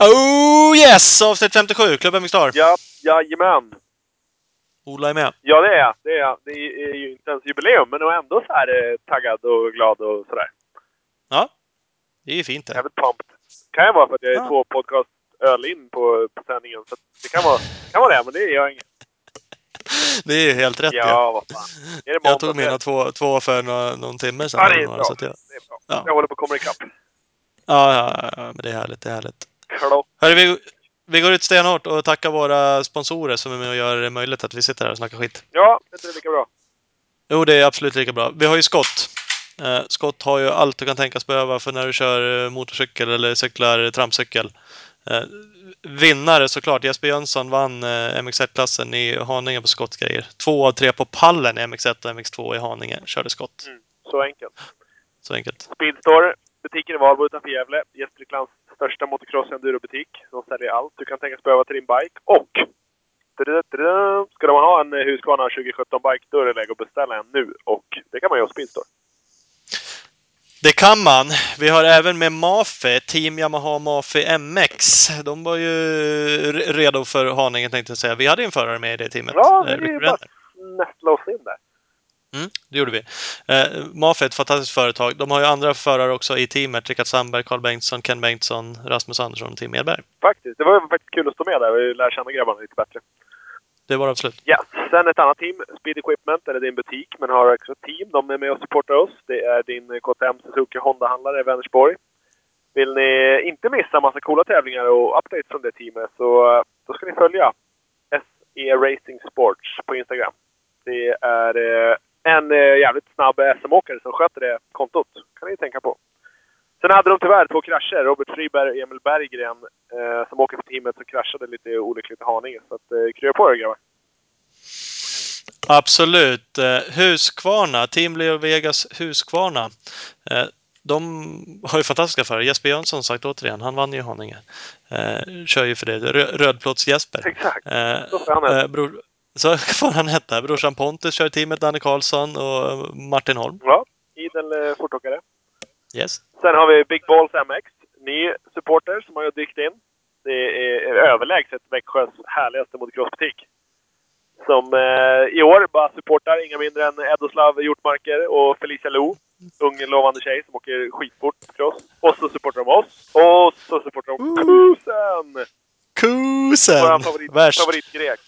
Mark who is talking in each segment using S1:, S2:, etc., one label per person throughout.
S1: Oh yes! Avsnitt 57, Klubben Mixar.
S2: Ja, jajamän.
S1: Ola är med.
S2: Ja, det är jag. Det är jag. Det är ju inte ens jubileum, men jag är ändå så här eh, taggad och glad och sådär.
S1: Ja. Det är ju fint det.
S2: Jävligt pumped. Kan ju vara för att jag är
S1: Ja.
S2: två podcast öl in på, på sändningen. Så det kan vara, kan vara det, men det gör inget.
S1: Det är ju helt rätt ju.
S2: Ja, vad fan. Är det
S1: Jag tog
S2: måndag?
S1: mina två, två för några, någon timme sedan.
S2: Ja, det
S1: eller
S2: är
S1: några,
S2: bra.
S1: så att jag,
S2: Det är bra.
S1: Ja.
S2: Jag håller på att komma ikapp.
S1: ja, ja, ja, ja, men det är härligt. Det är härligt.
S2: Klock.
S1: Hörru, vi, vi går ut stenhårt och tackar våra sponsorer som är med och gör det möjligt att vi sitter här och snackar skit.
S2: Ja, det är lika bra.
S1: Jo, det är absolut lika bra. Vi har ju skott. Eh, skott har ju allt du kan tänkas behöva för när du kör eh, motorcykel eller cyklar trampcykel. Eh, vinnare såklart. Jesper Jönsson vann eh, MX1-klassen i Haninge på skottgrejer. Två av tre på pallen i MX1 och MX2 i Haninge körde skott.
S2: Så enkelt.
S1: Så enkelt.
S2: Speedstore. Butiken i Valbo utanför Gävle. Gästriklands största motocross och endurobutik. De säljer allt du kan tänkas behöva till din bike. Och... tududududum, Skulle man ha en eh, Husqvarna 2017 bike, då är det läge att beställa en nu. Och det kan man göra hos Speedstore.
S1: Det kan man. Vi har även med Mafe, Team Yamaha Mafe MX. De var ju re- redo för Haninge tänkte jag säga. Vi hade en förare med i det teamet.
S2: Ja,
S1: Eh,
S2: det är
S1: Rick
S2: ju
S1: Brenner.
S2: bara nästla oss in där.
S1: Mm, det gjorde vi. Eh, Mafe är ett fantastiskt företag. De har ju andra förare också i teamet. Rickard Sandberg, Carl Bengtsson, Ken Bengtsson, Rasmus Andersson och Tim Edberg.
S2: Faktiskt. Det var ju faktiskt kul att stå med där. Vi lär känna grabbarna lite bättre.
S1: Det var det absolut.
S2: Ja, sen ett annat team. Speed Equipment, eller din butik, men har också ett team. De är med och supportar oss. Det är din KTM Suzuki Honda-handlare i Vänersborg. Vill ni inte missa massa coola tävlingar och updates från det teamet så eh, då ska ni följa SE Racing Sports på Instagram. Det är eh, en eh, jävligt snabb SM-åkare som sköter det kontot. kan ni tänka på. Sen hade de tyvärr två krascher. Robert Friberg och Emil Berggren eh, som åker för teamet så kraschade lite olyckligt i Haninge. Så att, eh, krya på er grabbar!
S1: Absolut. Eh, Husqvarna, Team Leo Vegas Husqvarna. Eh, de har ju fantastiska förare. Jesper Jönsson sagt återigen, han vann ju Haninge. Eh, kör ju för det. Rö- Rödplåts-Jesper.
S2: Exakt.
S1: Eh,
S2: Så får han heta.
S1: eh, bror, så får han heta. Brorsan Pontus kör i teamet, Danne Karlsson och Martin Holm.
S2: Ja, idel eh, fortåkare.
S1: Yes.
S2: Sen har vi Big Balls MX. Ny supporter som har ju dykt in. Det är överlägset Växjös härligaste motocrossbutik. Som eh, i år bara supportar inga mindre än Edoslav Hjortmarker och Felicia Lo. Ung lovande tjej som åker skitfort på cross. Och så supportar de oss. Och så supportar de Kusen!
S1: Kusen!
S2: Vår favorit,
S1: Värst.
S2: favoritgrek.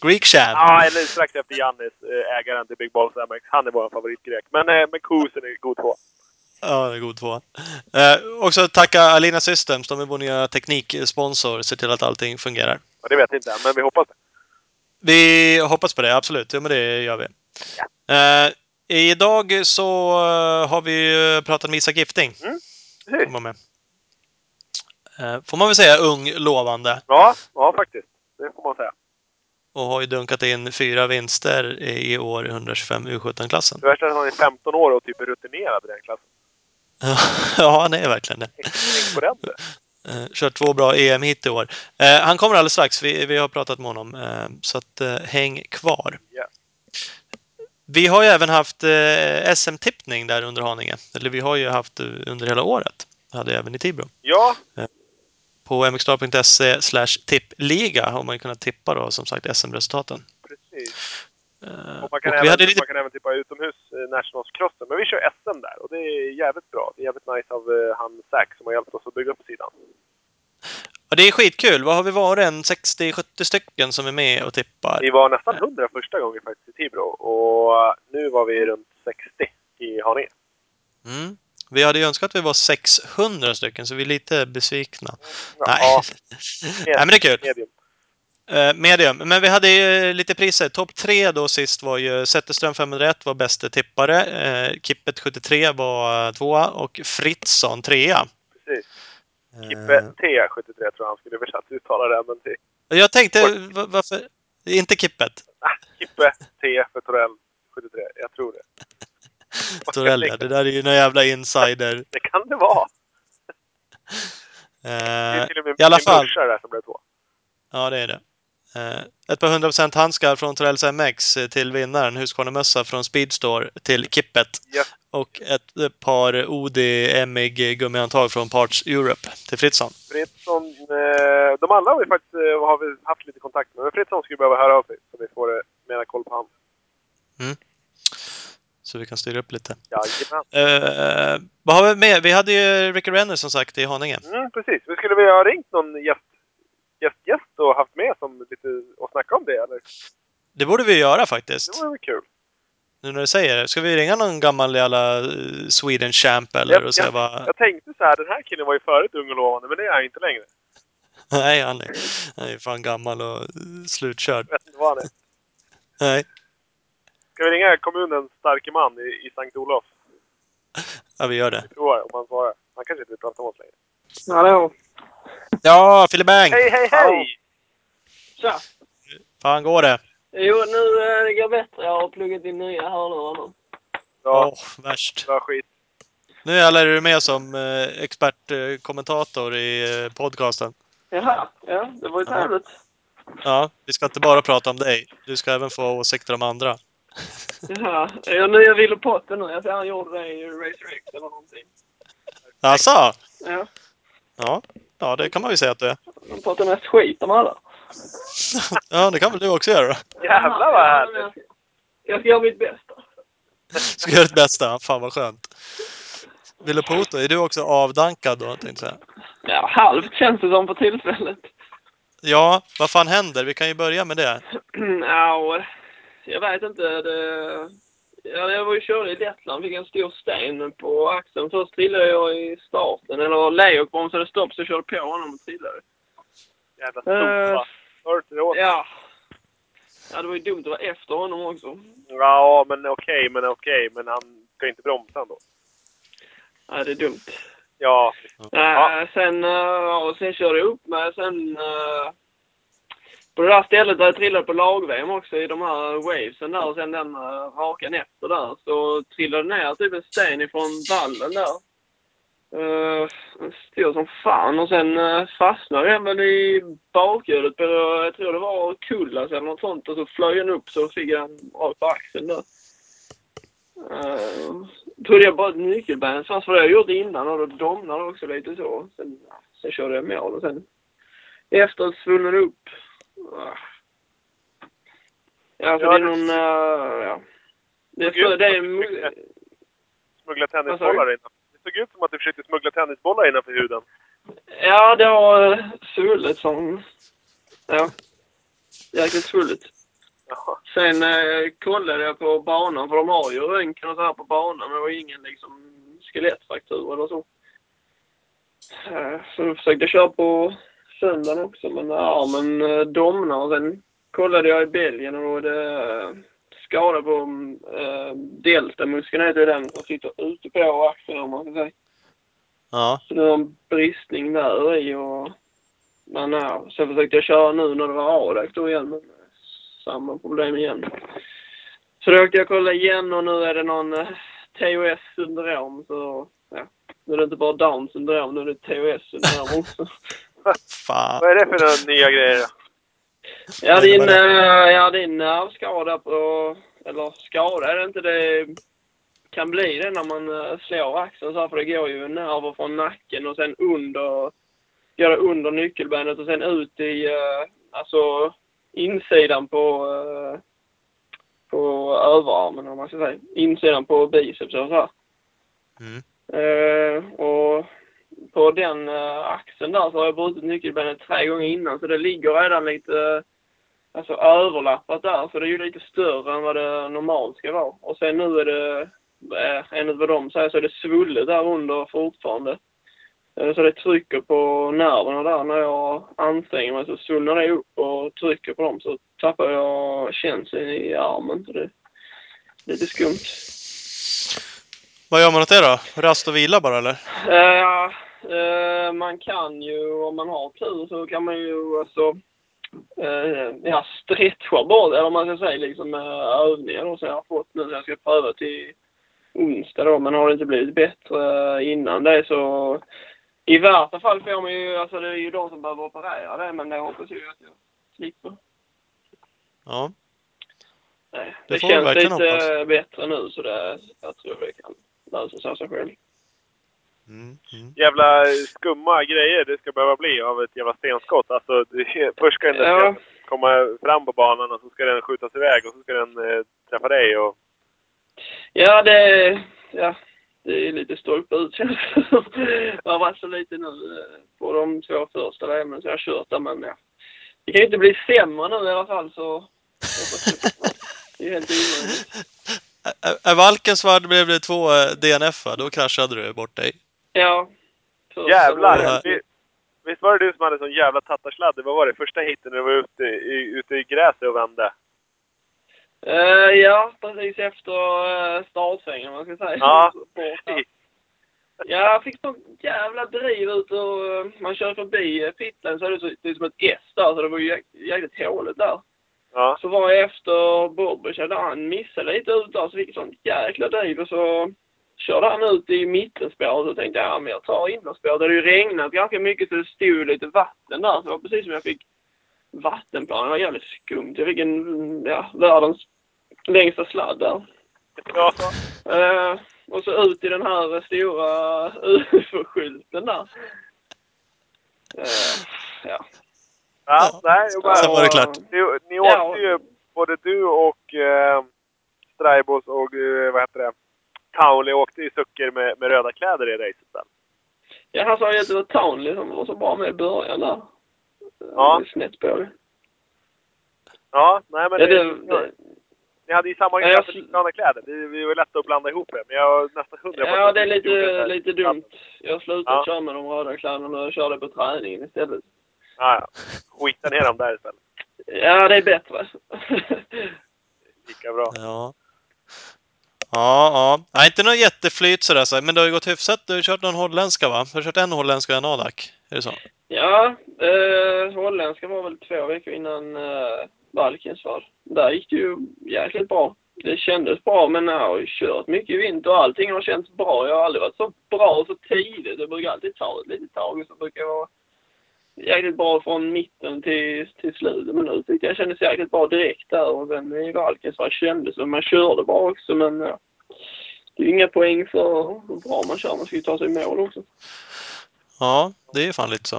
S1: Greek Chad.
S2: Ja, eller strax efter Jannis, eh, ägaren till Big Balls MX. Han är vår favoritgrek. Men, eh, men Kusen är god två.
S1: Ja, det är god tvåa. Eh, också tacka Alina Systems, de är vår nya tekniksponsor, ser till att allting fungerar.
S2: Ja, det vet jag inte än, men vi hoppas det.
S1: Vi hoppas på det, absolut. Ja, men det gör vi. Eh, idag så eh, har vi ju pratat med Isak Gifting.
S2: precis.
S1: Som var med. Eh, får man väl säga ung, lovande.
S2: Ja, ja faktiskt. Det får man säga.
S1: Och har ju dunkat in fyra vinster i i år i 125 U17-klassen.
S2: Det värsta är att han är 15 år och typ är rutinerad i den klassen.
S1: ja, han är verkligen det.
S2: Tänk på den du.
S1: Eh, kört två bra EM hit i år. Eh, han kommer alldeles strax. Vi, vi har pratat med honom. Eh, så att, eh, häng kvar.
S2: Ja.
S1: Vi har ju även haft eh, SM-tippning där under Haninge. Eller vi har ju haft eh, under hela året. Det hade jag även i Tibro.
S2: Ja,
S1: På mxstar.se slash tippliga har man ju kunnat tippa då som sagt SM-resultaten.
S2: precis.
S1: Eh,
S2: Och
S1: och
S2: man, kan
S1: vi
S2: även,
S1: hade lite...
S2: man kan även tippa utomhus eh, Nationalscrossen. Men vi kör SM där och det är jävligt bra. Det är jävligt nice av eh, han Zack som har hjälpt oss att bygga upp sidan.
S1: Ja, det är skitkul. Vad har vi varit? En 60-70 stycken som är med och tippar.
S2: Vi var nästan 100 första gången faktiskt i Tibro och eh, nu var vi runt 60 i Haninge.
S1: Mm. Vi hade ju önskat att vi var 600 stycken, så vi är lite besvikna.
S2: Ja,
S1: Nej. Nej, men det är kul.
S2: medium.
S1: Eh, medium. Men vi hade ju eh, lite priser. Topp tre då sist var ju Zetterström 501 var bäste tippare. Eh, Kippet 73 var eh, tvåa och Fritzson trea.
S2: Precis. Kippe
S1: Eh,
S2: T73 tror jag han skulle översatt uttala det, men till
S1: jag tänkte, va- varför? Inte Kippet.
S2: Kippe T för Torell 73. Jag tror det.
S1: Torella. Det där är ju någon jävla insider.
S2: Det kan det vara. Det
S1: Eh,
S2: är till och med
S1: I alla
S2: min
S1: fall.
S2: morsa där som blev två.
S1: Ja, det är det. Eh, ett par 100% handskar från Torells MX till vinnaren. Husqvarnamössa från Speedstore till Kippet.
S2: Ja.
S1: och ett par OD MEG gummihandtag från Parts Europe till Fritzson.
S2: Fritzson, eh, de andra har vi faktiskt eh, har vi haft lite kontakt med, men Fritzson skulle behöva höra av sig så vi får eh, mera koll på honom.
S1: Mm. Så vi kan styra upp lite.
S2: Jajamän.
S1: Eh, vad har vi med? Vi hade ju Ricky Renner som sagt i Haninge.
S2: Mm, precis. Vi skulle vi ha ringt någon gäst, gäst, gäst och haft med som lite och snacka om det eller?
S1: Det borde vi göra
S2: Det
S1: faktiskt.
S2: vore väl kul.
S1: Nu när du säger det. Ska vi ringa någon gammal jävla eh, Sweden Champ eller? Och säga vad...
S2: jag tänkte så här, den här killen var ju förut ung och lovande, men det är han inte längre.
S1: Nej, han är, han är ju fan gammal och eh, slutkörd.
S2: Jag vet inte vad han är.
S1: Nej,
S2: Ska vi ringa kommunens starke man i, i Sankt Olof?
S1: ja, vi gör det.
S2: Tror jag, om han svarar. Han kanske inte vill prata med oss längre.
S3: Hallå!
S1: Ja, Filip Bang!
S2: Hej, hej, hej!
S3: Tja!
S1: Fan går det?
S3: Jo, nu eh, det går bättre. Jag har pluggat in nya hörlurar nu.
S1: Åh,
S2: Bra,
S1: värst.
S2: bra skit.
S1: Nu är du med som eh, expertkommentator i eh, podcasten.
S3: Jaha, ja, det var ju trevligt.
S1: Ja, vi ska inte bara prata om dig. Du ska även få åsikter om andra.
S3: Jaha, jag har nya Ville Potter nu. Jag ser han gjorde det i Racer X eller någonting.
S1: Alltså,
S3: Ja,
S1: ja. ja, det kan man ju säga att du är.
S3: han pratar mest skit om alla.
S1: Ja, det kan väl du också göra då?
S2: Jävlar vad
S3: Jaha, ja,
S2: härligt!
S3: jag ska- Jag ska göra mitt bästa.
S1: Ska göra ditt bästa. Fan vad skönt. Ville Poto, är du också avdankad då? Tänkte jag. säga.
S3: Ja, halvt känns det som för tillfället.
S1: Ja, vad fan händer? Vi kan ju börja med det.
S3: Ja, och jag vet inte. Det... Ja, jag var ju körde i Lettland fick en stor sten på axeln. Först trillade jag i starten, eller Leo bromsade stopp så jag körde på honom och trillade.
S2: Jävla
S3: Eh.
S2: sopa! Hörde du det åt?
S3: Ja. ja, det var ju dumt att vara efter honom också.
S2: Ja, men okej, men okej. Men han ska inte bromsa ändå.
S3: Ja, det är dumt.
S2: Ja, Ja.
S3: Äh, sen, eh, ja, och sen körde jag upp mig. Sen, eh, på det där stället där jag trillade på lag-VM också, i de här wavesen där, och sen den eh, rakan efter där, så trillade det ner typ en sten ifrån vallen där. Uh, stor som fan och sen eh, fastnade den väl i bakhjulet på, jag tror det var Kullas eller något sånt, och så flög den upp så fick jag den rakt på axeln där. Uh, trodde jag bara ett nyckelben fanns för det har jag gjort innan och då domnade det också lite så. Sen, sen körde jag mål och sen efteråt svullnade det upp. Ah. Ja, så
S2: Ja,
S3: det är
S2: det-
S3: någon... eh, ja. Det,
S2: Gud,
S3: är, det är,
S2: vad
S3: mu-
S2: Smuggla
S3: Vad sa
S2: tennisbollar innan. Det såg ut som att du försökte smuggla tennisbollar innanför huden.
S3: Ja, det var eh, svullet som... Ja. Jäkligt svullet.
S2: Jaha.
S3: Sen eh, kollade jag på banan, för de har ju röntgen och så här på banan, men det var ingen liksom skelettfraktur eller så. Eh, så då försökte jag köra på söndagen också, men ja, men eh, domnade. Och sen kollade jag i Belgien och då var det eh, skada på eh, deltamuskeln, heter ju den, som sitter ute på axeln om man ska säga.
S1: Ja,
S3: Så det var en Alltså, bristning där i och... Men ja, sen försökte jag köra nu när det var Adak då igen, men samma problem igen. Så då åkte jag kolla igen och nu är det någon eh, TOS-syndrom, så ja. Nu är det inte bara Downs syndrom, nu är det TOS-syndrom också.
S1: fan.
S2: Vad är det för några nya grejer då?
S3: Ja, din, eh, ja, din nervskada på... Eller skada är det inte. Det kan bli det när man eh, slår axeln så här, för det går ju nerver från nacken och sen under... Gör det under nyckelbenet och sen ut i... eh, Alltså insidan på... eh, På överarmen, om man ska säga. Insidan på biceps och så här.
S1: Mm.
S3: Eh, och på den eh, axeln där så har jag brutit nyckelbenet tre gånger innan så det ligger redan lite eh, alltså överlappat där så det är ju lite större än vad det normalt ska vara. Och sen nu är det, eh, enligt vad de säger, så är det svullet där under fortfarande. Eh, Så det trycker på nerverna där när jag anstränger mig så svullnar det upp och trycker på dem så tappar jag känslan i armen. Så det är lite skumt.
S1: Vad gör man åt det då? Rast och vila bara eller?
S3: Eh, eh, man kan ju, om man har tur, så kan man ju alltså, eh, ja, stretcha bort, eller vad man ska säga, liksom, eh, övningar då, som jag har fått nu. Jag ska pröva till onsdag då, men har det inte blivit bättre eh, innan det så i värsta fall får man ju, alltså det är ju de som behöver operera det, men det hoppas jag ju att jag slipper.
S1: Ja.
S3: Nej,
S1: Det
S3: det
S1: får vi
S3: känns
S1: verkligen
S3: lite
S1: hoppas.
S3: bättre nu så det, jag tror det kan. löser sig av sig själv.
S1: Mm, mm.
S2: Jävla skumma grejer det ska behöva bli av ett jävla stenskott. Alltså, det- först ska den
S3: Ja.
S2: komma fram på banan och så ska den skjutas iväg och så ska den eh, träffa dig. Och,
S3: Ja, det, ja, det är lite stolpe ut känns det som. Jag har varit så lite nu eh, på de två första lämnen så jag har kört där, men ja. Det kan ju inte bli sämre nu i alla fall så... Det är helt omöjligt.
S1: Ä- Ä- Ä- Valkensvärd blev det två eh, DNF, va? då kraschade du bort dig.
S3: Ja. Första
S1: det
S2: jävlar!
S1: här-
S3: lämnet.
S2: Vi, visst var det du som hade sån jävla tattarsladd? Vad var det? Första hitten när du var ute i, ute i gräset och vände?
S3: Eh, ja, precis efter uh, startsvängen, om man ska säga.
S2: Ja.
S3: Bort där. Ja, jag fick sån jävla driv ut och eh, man kör förbi eh, pitlane så är det, så, det är som ett S där, så det var ju jäk- jäkligt håligt där.
S2: Ja.
S3: Så var jag Alltså, efter Bobbysha där han missade lite ut där, så fick jag sånt jäkla driv och så körde han ut i mittenspåret och tänkte ja, men jag tar innerspåret. Det hade ju regnat ganska mycket så det stod lite vatten där, så det var precis som jag fick vattenplan. Det var jävligt skumt. Jag fick en, ja, världens längsta sladd där.
S2: ja.
S3: Eh, och så ut i den här stora UFO-skylten där. Eh, ja.
S2: ja. Nej, jag bara,
S1: Sen var det klart.
S2: Ni, ni åkte
S3: Ja.
S2: ju, både du och eh, Straibos och eh, vad heter det, Townley åkte ju sucker med, med röda kläder i racet sen.
S3: Ja, han sa ju att det var Townley som var så bra med i början där. Eh,
S2: Ja.
S3: Snett på det.
S2: Ja, nej men
S3: Ja,
S2: det,
S3: det, det,
S2: ni hade ju samma
S3: Ja,
S2: ja,
S3: jag-
S2: likadana kläder. Det, det var lätt att blanda ihop det, men jag är nästan hundra
S3: ja, det är
S2: gjorde
S3: lite,
S2: här.
S3: lite dumt. Jag slutade
S2: Ja.
S3: köra med de röda kläderna och körde på träningen istället.
S2: Ja, ja. Skita ner dem där istället.
S3: Ja, det är bättre.
S2: Lika bra.
S1: Ja. Ja, ja. Nej, inte någon jätteflyt sådär, så, men det har ju gått hyfsat. Du har ju kört någon holländska, va? Du har kört en holländska och en Adak. Är det så?
S3: ja, eh, holländska var väl två veckor innan eh, Balkens var. Där gick det ju jäkligt bra. Det kändes bra, men jag har ju kört mycket i vinter och allting har känts bra. Jag har aldrig varit så bra så tidigt. Det brukar alltid ta ett litet tag. och Så brukar jag vara jäkligt bra från mitten till, till slutet. Men nu tyckte jag kändes jäkligt bra direkt där. Och sen i Valkens var kändes det. Man körde bra också, men ja. Det är ju inga poäng för hur bra man kör. Man ska ju ta sig i mål också.
S1: Ja, det är ju fan lite så.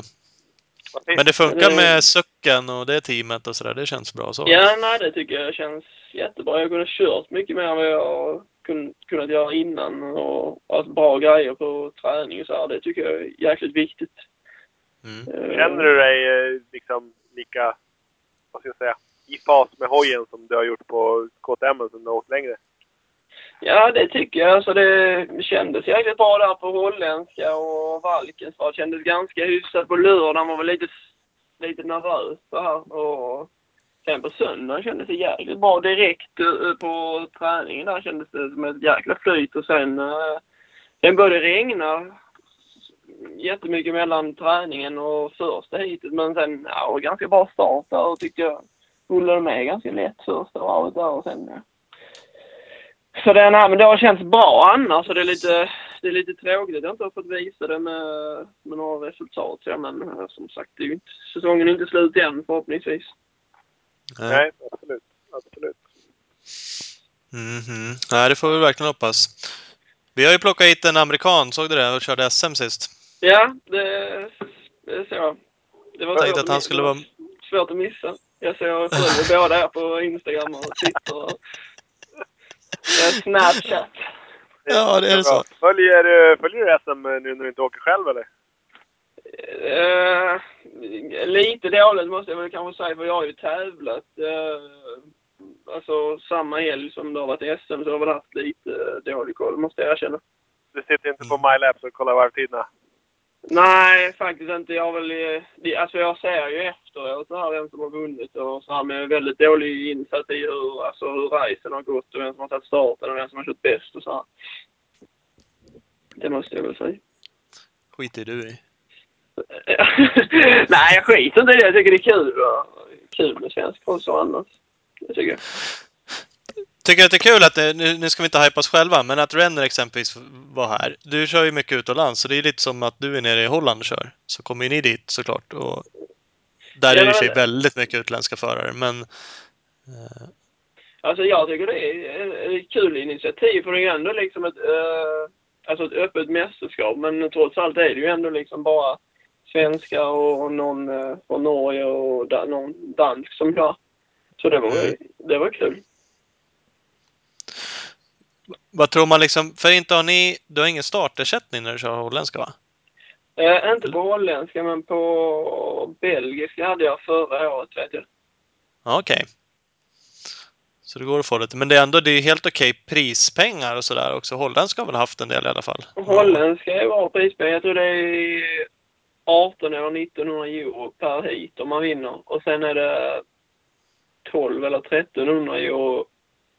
S2: Vad finns-
S1: Men det
S3: Ja,
S1: funkar
S3: det-
S1: med sucken och det teamet och sådär. Det känns bra så.
S3: Ja, nej, det tycker jag känns jättebra. Jag kunde ha kört mycket mer än vad jag kun, kunnat göra innan och haft bra grejer på träning och så här. Det tycker jag är jäkligt viktigt.
S1: Mm.
S3: Eh,
S2: Känner du dig eh, liksom lika, vad ska jag säga, i fas med hojen som du har gjort på KTM som du har åkt längre?
S3: Ja, det tycker jag. Alltså, det kändes jäkligt bra där på holländska och Valkensvar. Kändes ganska hyfsat på lördagen. Man var lite, lite nervös så här. Och sen på söndagen kändes det jäkligt bra. Direkt eh, på träningen där kändes det som ett jäkla flyt. Och sen, eh, sen började det regna jättemycket mellan träningen och första heatet. Men sen, ja, det var ganska bra start där och tyckte jag rullade med ganska lätt första varvet där och sen, ja. Så den här, men det har känts bra annars. Så det är lite, det är lite tråkigt att jag inte har fått visa det med, med några resultat. Ja, men eh, som sagt, det är ju inte, säsongen är inte slut än förhoppningsvis.
S1: Nej.
S2: Nej, absolut. absolut.
S1: Mhm. Nej, det får vi verkligen hoppas. Vi har ju plockat hit en amerikan, såg du det? Och körde SM sist.
S3: Ja, det, det ser jag. Det var
S1: Jag
S3: svårt
S1: tänkte att han
S3: missa.
S1: skulle vara...
S3: Svårt att missa. Jag ser följer båda er på Instagram och Twitter och eh, Snapchat.
S1: Ja, det är det så.
S2: Bra. Följer, eh, följer du SM nu när du inte åker själv eller?
S3: Eh, lite dåligt måste jag väl kanske säga, för jag har ju tävlat eh, alltså samma helg som det har varit SM, så jag har väl haft lite eh, dålig koll, måste jag erkänna.
S2: Du sitter inte
S1: Mm.
S2: på MyLaps och kollar varvtiderna?
S3: Nej, faktiskt inte. Jag har väl, eh, det- alltså jag ser ju efteråt så här vem som har vunnit och så här med väldigt dålig insatt i hur, alltså hur racen har gått och vem som har tagit starten och vem som har kört bäst och så här. Det måste jag väl säga.
S1: skiter du i.
S3: Nej, jag skiter inte i det. Jag tycker det är kul. och- Kul med svensk konst och annars. Det tycker jag.
S1: Tycker att det är kul att, det- nu, nu ska vi inte hypa oss själva, men att Renner exempelvis var här. Du kör ju mycket utomlands, så det är lite som att du är nere i Holland och kör. Så kommer ju ni dit såklart. Och där är
S3: Ja,
S1: det i och för sig
S3: men-
S1: väldigt mycket utländska förare, men...
S3: Alltså jag tycker det är ett kul initiativ för det är ju ändå liksom ett, eh, alltså ett öppet mästerskap. Men trots allt är det ju ändå liksom bara svenskar och någon eh, från Norge och da, någon dansk som kör. Så det var,
S1: Mm.
S3: det var kul.
S1: Vad tror man liksom? För inte har ni... Du har ingen startersättning när du kör holländska va?
S3: Eh, inte på holländska, men på belgiska hade jag förra året, vet jag.
S1: Ja, Okej. Så det går att få lite. Men det är ändå det är helt okej prispengar och sådär också. Holländska har väl haft en del i alla fall?
S3: Holländska är bra prispengar. Jag tror det är 18 eller 1900 euro per hit om man vinner. Och sen är det 12 eller 1300 euro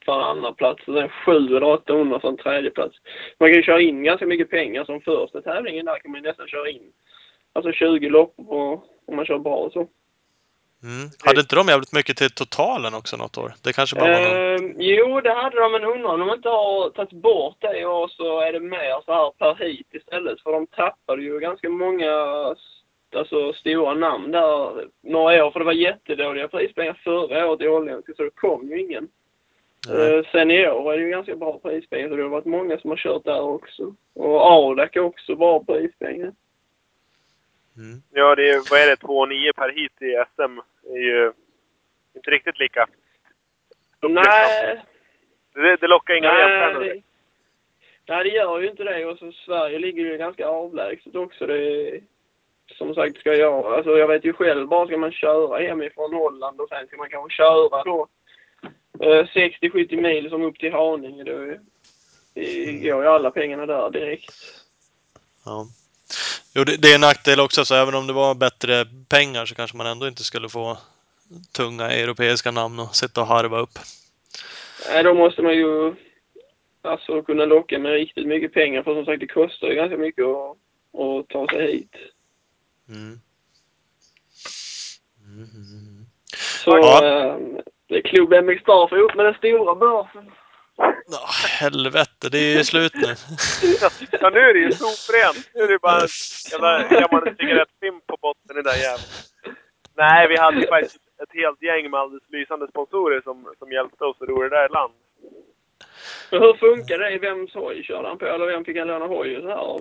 S3: för en andra plats och sen 7 eller 800 för en tredje plats. Man kan ju köra in ganska mycket pengar som första tävlingen där kan man ju nästan köra in. Alltså 20 lopp och, om man kör bra och så.
S1: Mm. Hade inte de jävligt mycket till totalen också något år? Det kanske bara var någon...
S3: Ehm, jo, det hade de, men undrar om de inte har tagit bort det i år så är det mer så här per hit istället. För de tappade ju ganska många alltså, stora namn där några år. För det var jättedåliga prispengar förra året i holländska, så det kom ju ingen.
S1: Nej.
S3: Eh, sen i år är det ju ganska bra prispengar, så det har varit många som har kört där också. Och Arlak är också bra prispengar.
S1: Mm.
S2: Ja, det är, vad är det, 2,9 per hit i SM. Det är ju inte riktigt lika.
S3: Nej,
S2: Det, det lockar inga VM-stjärnor.
S3: Nej, det- nej, det gör ju inte det. Och så Sverige ligger ju ganska avlägset också. Det är, som sagt, ska jag, alltså jag vet ju själv bara, ska man köra hemifrån Holland och sen ska man kanske köra då eh, 60-70 mil som upp till Haninge. Då är- det går ju alla pengarna där direkt.
S1: Ja. Jo, det, det är en nackdel också, så även om det var bättre pengar så kanske man ändå inte skulle få tunga europeiska namn och sitta och harva upp.
S3: Nej, då måste man ju alltså kunna locka med riktigt mycket pengar. För som sagt, det kostar ju ganska mycket att, att ta sig hit.
S1: Mm.
S3: Så
S1: Ja.
S3: eh, det är Club MX Star får ihop med den stora börsen.
S1: Ja, helvete, det är ju slut nu.
S2: Ja, nu är det ju soprent. Nu är det bara en jävla gammal cigarettfimp på botten i den jäveln. Nej, vi hade faktiskt ett helt gäng med alldeles lysande sponsorer som, som hjälpte oss att ro det där i land.
S3: Men hur funkar det? Vems hoj körde han på? Eller vem fick han låna hoj och så här av?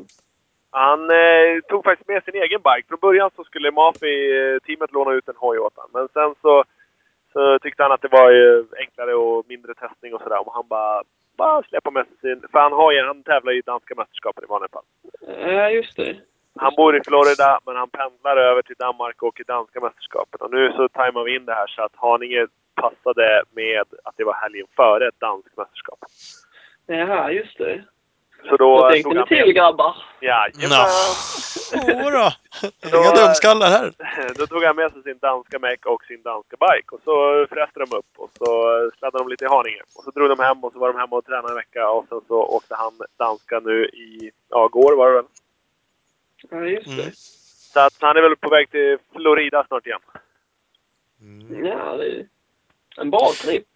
S2: Han eh, tog faktiskt med sin egen bike. Från början så skulle Mafi-teamet låna ut en hoj åt honom. Men sen så, så tyckte han att det var eh, enklare och mindre testning och sådär. Och han bara, bara släppa med sig sin... För han, har ju, han tävlar ju i danska mästerskapen i vanliga fall.
S3: Ja, just det.
S2: Han bor i Florida, men han pendlar över till Danmark och åker danska mästerskapen. Och nu så tajmar vi in det här så att Haninge passade med att det var helgen före ett danskt mästerskap.
S3: Ja, just det.
S2: Så då
S3: Vad
S2: eh,
S3: tänkte
S2: tog
S3: ni
S2: han
S3: till grabbar?
S2: Jajamän.
S1: Nå. Jodå! Inga dumskallar här.
S2: Då tog han med sig sin danska mek och sin danska bike. Och så fräste de upp och så sladdade de lite i Haninge. Och så drog de hem och så var de hemma och tränade en vecka. Och sen så åkte han danska nu i, ja, går var det väl.
S3: Ja,
S1: Mm.
S3: just det.
S2: Så att han är väl på väg till Florida snart igen.
S3: Ja, det är en bra tripp.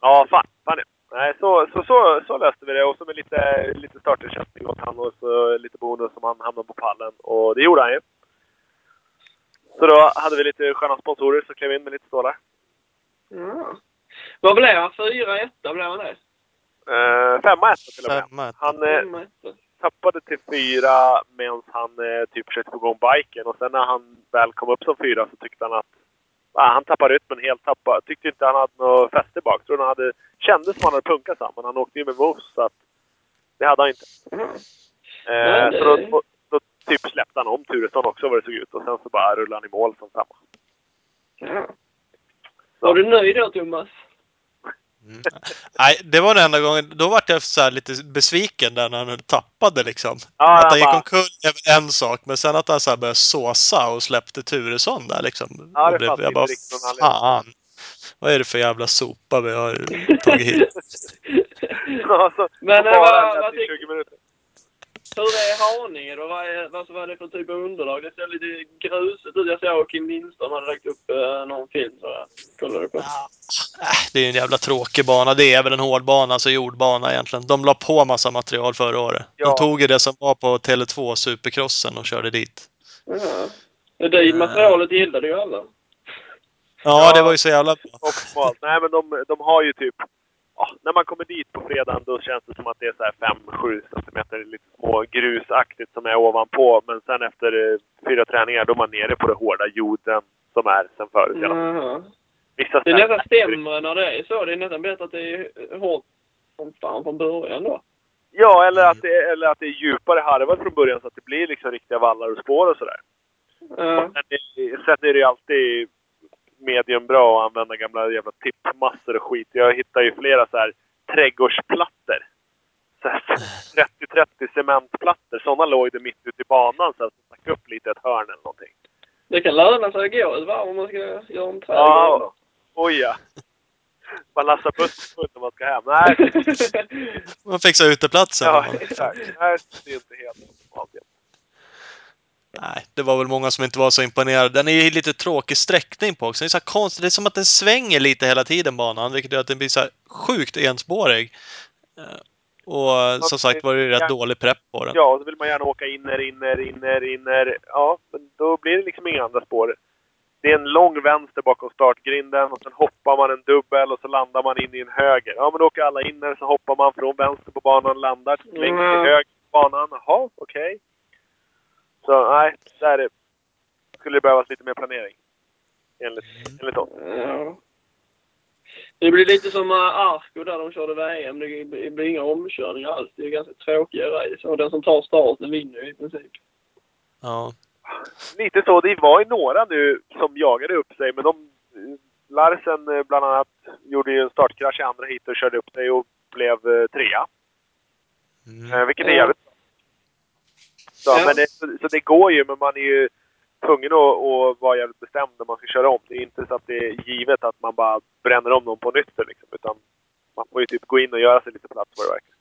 S2: Ja, fan. fan ja. Nej, så, så, så, så löste vi det. Och så med lite, lite startersättning åt han och så lite bonus som han hamnade på pallen. Och det gjorde han ju. Så då hade vi lite sköna sponsorer som klev in med lite stålar.
S3: Ja. Vad blev han? Fyra, etta blev han det?
S2: Eh, femma etta till och med.
S1: Femma, ett.
S2: Han eh,
S3: Femma, etta.
S2: tappade till fyra medan han eh, typ försökte få igång biken. Och sen när han väl kom upp som fyra så tyckte han att ah, han tappade rytmen helt. Tappade, tyckte inte han hade något fäste bak. Tror han hade, kändes som han hade punkat sig, men han åkte ju med moves så att det hade han inte.
S3: Ja.
S2: Eh,
S3: Nej,
S2: så då,
S3: det-
S2: då, då typ släppte han om Turesson också vad det såg ut och sen så bara rullade han i mål som samma.
S3: Ja. Var du nöjd då, Thomas?
S1: Mm. Nej, det var den enda gången. Då var jag så här lite besviken där när han tappade liksom.
S2: Ja,
S1: Att han
S2: han
S1: gick
S2: bara-
S1: omkull är väl en sak, men sen att han så här började såsa och släppte Turesson där liksom.
S2: Ja, det
S1: Då blev
S2: fanns
S1: jag
S2: inte
S1: bara,
S2: riktigt någon
S1: fan!
S2: anledning.
S1: Vad är det för jävla sopa vi har tagit hit?
S2: Ja, så,
S3: Men,
S2: så
S3: eh,
S2: bara
S3: vad-
S2: lät
S3: vad
S2: i
S3: tyck-
S2: 20 minuter.
S3: Hur är Haninge då? Vad är, vad vad är det för typ av underlag? Det ser lite grusigt ut. Jag såg Kim Lindström hade lagt upp eh, någon film så jag kollade på.
S1: Ja, äh, Det är ju en jävla tråkig bana. Det är väl en hårdbana, alltså jordbana egentligen. De la på massa material förra året.
S2: Ja.
S1: De tog ju det som var på Tele2 Supercrossen och körde dit.
S3: Ja. Mm. Det där materialet gillade ju alla.
S1: Ja,
S2: Ja.
S1: det var ju så jävla bra.
S2: Optimalt. Nej, men de, de har ju typ ja, när man kommer dit på fredagen då känns det som att det är så här 5-7 centimeter lite små grusaktigt som är ovanpå. Men sen efter eh, fyra träningar då är man nere på den hårda jorden som är sen förut. i alla fall.
S3: Jaha.
S2: Vissa
S3: Mm. Det är
S2: ställen-
S3: nästan sämre när det är så. Det är nästan bättre att det är hårt som fan från början då.
S2: Ja, eller att, det, eller att det är djupare harvat från början så att det blir liksom riktiga vallar och spår och sådär.
S3: Ja.
S2: Sen är, sen är det ju alltid medium bra att använda gamla jävla tippmassor och skit. Jag hittar ju flera så här trädgårdsplattor. Så här 30-30 cementplattor. Sådana låg det mitt ute i banan så att det stack upp lite i ett hörn eller någonting.
S3: Det kan löna sig att gå ett varv om man ska göra en trädgård.
S2: Ja, oj ja. Man lassar bussen full när man ska hem. Nej,
S1: Man fixar uteplatsen.
S2: ja,
S1: Man-
S2: exakt. Nej, det är inte helt normalt.
S1: Nej, det var väl många som inte var så imponerade. Den är ju lite tråkig sträckning på också. Det är, så här konstigt. det är som att den svänger lite hela tiden banan, vilket gör att den blir så här sjukt enspårig. Eh, Och som sagt var det ju rätt
S2: Ja.
S1: dålig prepp på den.
S2: Ja, och så vill man gärna åka inner, inner, inner, inner. Ja, men då blir det liksom inga andra spår. Det är en lång vänster bakom startgrinden och sen hoppar man en dubbel och så landar man in i en höger. Ja, men då åker alla inner så hoppar man från vänster på banan, landar längst till
S3: Mm.
S2: höger på banan. Jaha, okej. Så nej, där är, skulle det behövas lite mer planering. Enligt, enligt oss.
S3: Ja. Det blir lite som eh, Arco där de körde VM. Det blir det blir inga omkörningar alls. Det är ganska tråkiga race. Och den som tar starten vinner ju i princip.
S1: Ja.
S2: Lite så. Det var ju några nu som jagade upp sig, men de... Larsen eh, bland annat gjorde ju en startkrasch i andra hit och körde upp sig och blev eh, trea.
S1: Mm.
S2: Eh, vilket är
S3: Ja.
S2: jävligt bra. Så,
S3: Ja.
S2: men det, så, så det går ju, men man är ju tvungen att, att vara jävligt bestämd när man ska köra om. Det är inte så att det är givet att man bara bränner om någon på nytt. Liksom, utan man får ju typ gå in och göra sig lite plats vad det verkar.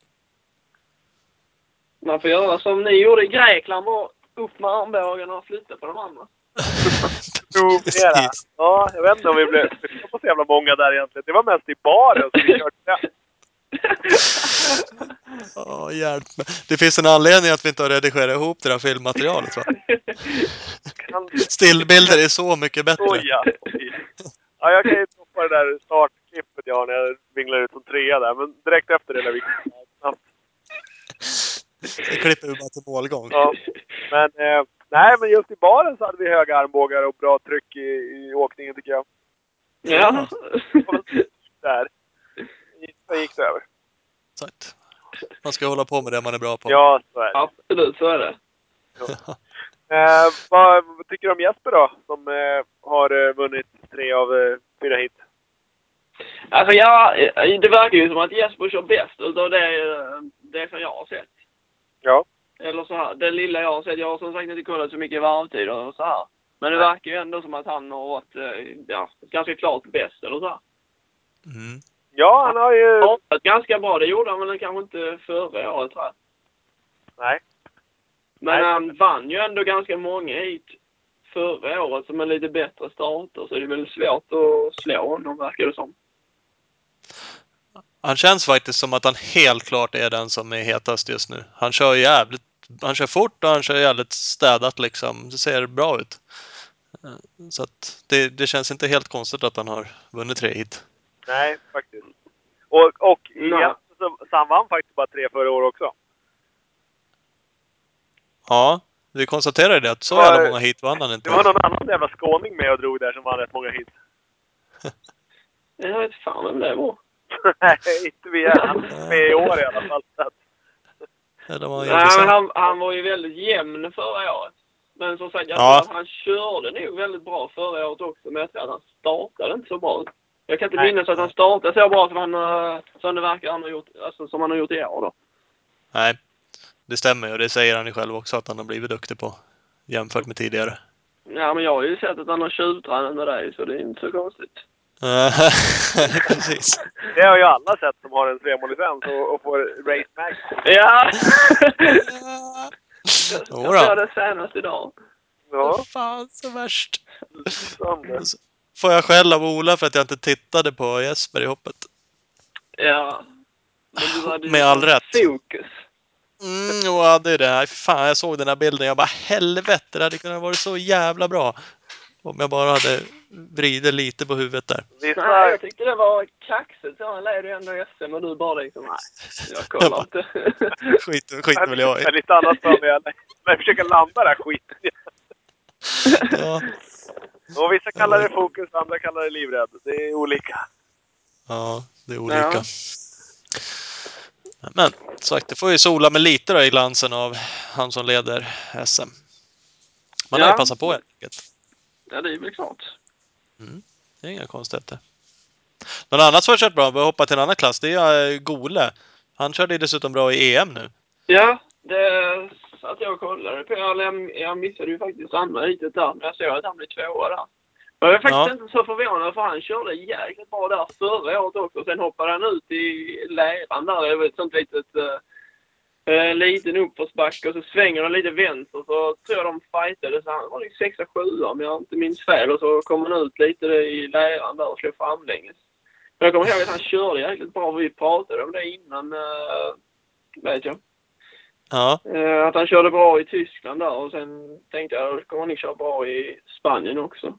S3: Man får göra som ni gjorde i Grekland. Bara upp med armbågen och flytta på de andra.
S2: Provera.
S1: Precis.
S2: Ja, jag vet inte om vi blev det var så jävla många där egentligen. Det var mest i baren som vi körde.
S1: Åh, hjälp mig. Det finns en anledning att vi inte har redigerat ihop det där filmmaterialet va?
S2: Kan-
S1: Stillbilder är så mycket bättre.
S2: Oj, ja. Oj. ja, jag kan ju toppa det där startklippet jag har när jag vinglar ut som trea där. Men direkt efter det lär vi snabbt.
S1: Det klipper vi bara till målgång.
S2: Ja. Men, eh, nej, men just i baren så hade vi höga armbågar och bra tryck i, i åkningen tycker jag.
S3: Ja.
S2: Där. Sen gick det över.
S1: Exakt. Man ska hålla på med det man är bra på.
S2: Ja, så är det.
S3: Absolut, så är det.
S2: Eh, vad, vad tycker du om Jesper då? Som eh, har eh, vunnit tre av eh, fyra hit.
S3: Alltså ja, eh, det verkar ju som att Jesper kör bäst utav det, eh, det som jag har sett.
S2: Ja.
S3: Eller så här, det lilla jag har sett. Jag har som sagt inte kollat så mycket varvtider och så här. Men det verkar ju ändå som att han har varit eh, ja, ganska klart bäst eller så här.
S1: Mm.
S2: Ja, han har ju...
S3: Ja, ganska bra. Det gjorde han väl kanske inte förra året tror jag.
S2: Nej.
S3: Men
S2: Nej.
S3: han vann ju ändå ganska många hit förra året som är lite bättre starter. Så det är väl svårt att slå honom verkar det som.
S1: Han känns faktiskt som att han helt klart är den som är hetast just nu. Han kör jävligt han kör fort och han kör jävligt städat liksom. Det ser bra ut. Eh, Så att det, det känns inte helt konstigt att han har vunnit tre hit.
S2: Nej, faktiskt. Och, och
S3: Nej.
S2: igen, så, så han vann faktiskt bara tre förra året också.
S1: Ja, vi konstaterar ju det att så
S2: Ja,
S1: jävla många hit vann han
S2: Det
S1: inte.
S2: var någon annan jävla skåning med och drog där som vann rätt många hit.
S3: Jag vet fan vem det var.
S2: Nej, inte vi är. Han är med i år i alla fall. Så att,
S1: Eller vad han
S3: Nej,
S1: gjorde sen.
S3: men han, han var ju väldigt jämn förra året. Men som sagt, jag
S1: Ja.
S3: tror att han körde nog väldigt bra förra året också. Men jag tror att han startade inte så bra. Jag kan inte
S2: Nej.
S3: minnas att han startade så bra som, han, eh, som det verkar han har gjort, alltså, som han har gjort i år då.
S1: Nej, det stämmer ju. Det säger han ju själv också att han har blivit duktig på. Jämfört med tidigare.
S3: Ja, men jag har ju sett att han har tjuvtränat med dig, så det är inte så konstigt.
S1: Eh, Precis.
S2: det har ju alla sett som har en tremålslicens och, och får race back.
S3: Ja!
S1: Jodå.
S3: jag sa det senast idag.
S2: Ja,
S1: Vad Fan, så värst.
S2: som det.
S1: Alltså, Får jag skäll av Ola för att jag inte tittade på Jesper i hoppet?
S3: Ja. Men du hade ju
S1: Med all rätt.
S3: Fokus.
S1: Mm, och ja, det är det. här. Fan, jag såg den här bilden. Jag bara helvete, det hade kunnat vara så jävla bra. Om jag bara hade vrider lite på huvudet där.
S2: Vissa,
S3: Nej, jag tyckte det var kaxigt. Så han leder ju ändå i SM och du bara liksom, nej, jag kollar inte.
S1: Skit, skit väl jag i.
S2: är lite annat för mig. eller? Men jag försöker landa där skiten.
S1: Ja.
S2: Och vissa kallar det fokus, andra kallar det livrädd. Det är olika.
S1: Ja, det är olika. Men som sagt, det får ju sola med lite då i glansen av han som leder SM. Man lär
S3: Ja.
S1: ju passa på helt enkelt.
S3: ja, det är väl klart.
S1: Det är inga konstigheter. Någon annan som har kört bra, vi hoppar till en annan klass, det är eh, Gole. Han körde ju dessutom bra i EM nu.
S3: Ja, det satt jag och kollade på. Eller jag- jag missade ju faktiskt andra riket där, men jag såg att han blev tvåa där. Men jag är faktiskt
S1: Ja.
S3: inte så förvånad, för han körde jäkligt bra där förra året också. Sen hoppade han ut i läran där. Det var ett sånt litet... eh, eh, liten uppförsbacke och så svänger han lite vänster så tror jag de fightade så han var liksom sexa, sjua om jag inte minns fel. Och så kom han ut lite i läran där och slog framlänges. Men jag kommer ihåg att han körde jäkligt bra. Vi pratade om det innan, eh, vet jag.
S1: Ja,
S3: Eh, Att han körde bra i Tyskland där och sen tänkte jag att kommer han ju köra bra i Spanien också.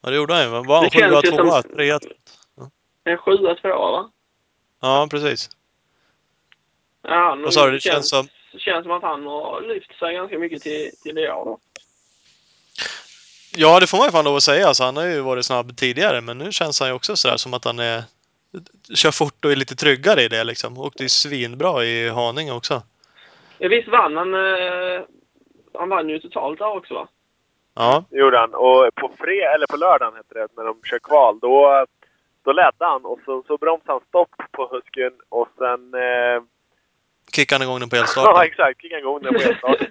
S1: och det gjorde han ju. Men Var han
S3: Det känns
S1: sjua,
S3: ju som-
S1: tvåa, trea?
S3: En sjua, tvåa va?
S1: Ja, precis.
S3: Ja, han-
S1: Vad sa du? Det känns som...
S3: känns som att han har lyft sig ganska mycket till, till i år då.
S1: Ja, det får man ju fan lov att säga. Alltså, han har ju varit snabb tidigare, men nu känns han ju också sådär som att han är... Kör fort och är lite tryggare i det liksom. Och det är svinbra i Haninge också.
S3: Ja, visst vann han? eh, Han vann ju totalt där också va?
S1: Ja,
S2: Det gjorde han. Och på fred, eller på lördagen hette det, när de kör kval, då, då ledde han och så, så bromsade han stopp på husken och sen... Eh,
S1: kickade han igång den på
S2: ja,
S1: elstarten.
S2: exakt. Kickade igång den på elstarten.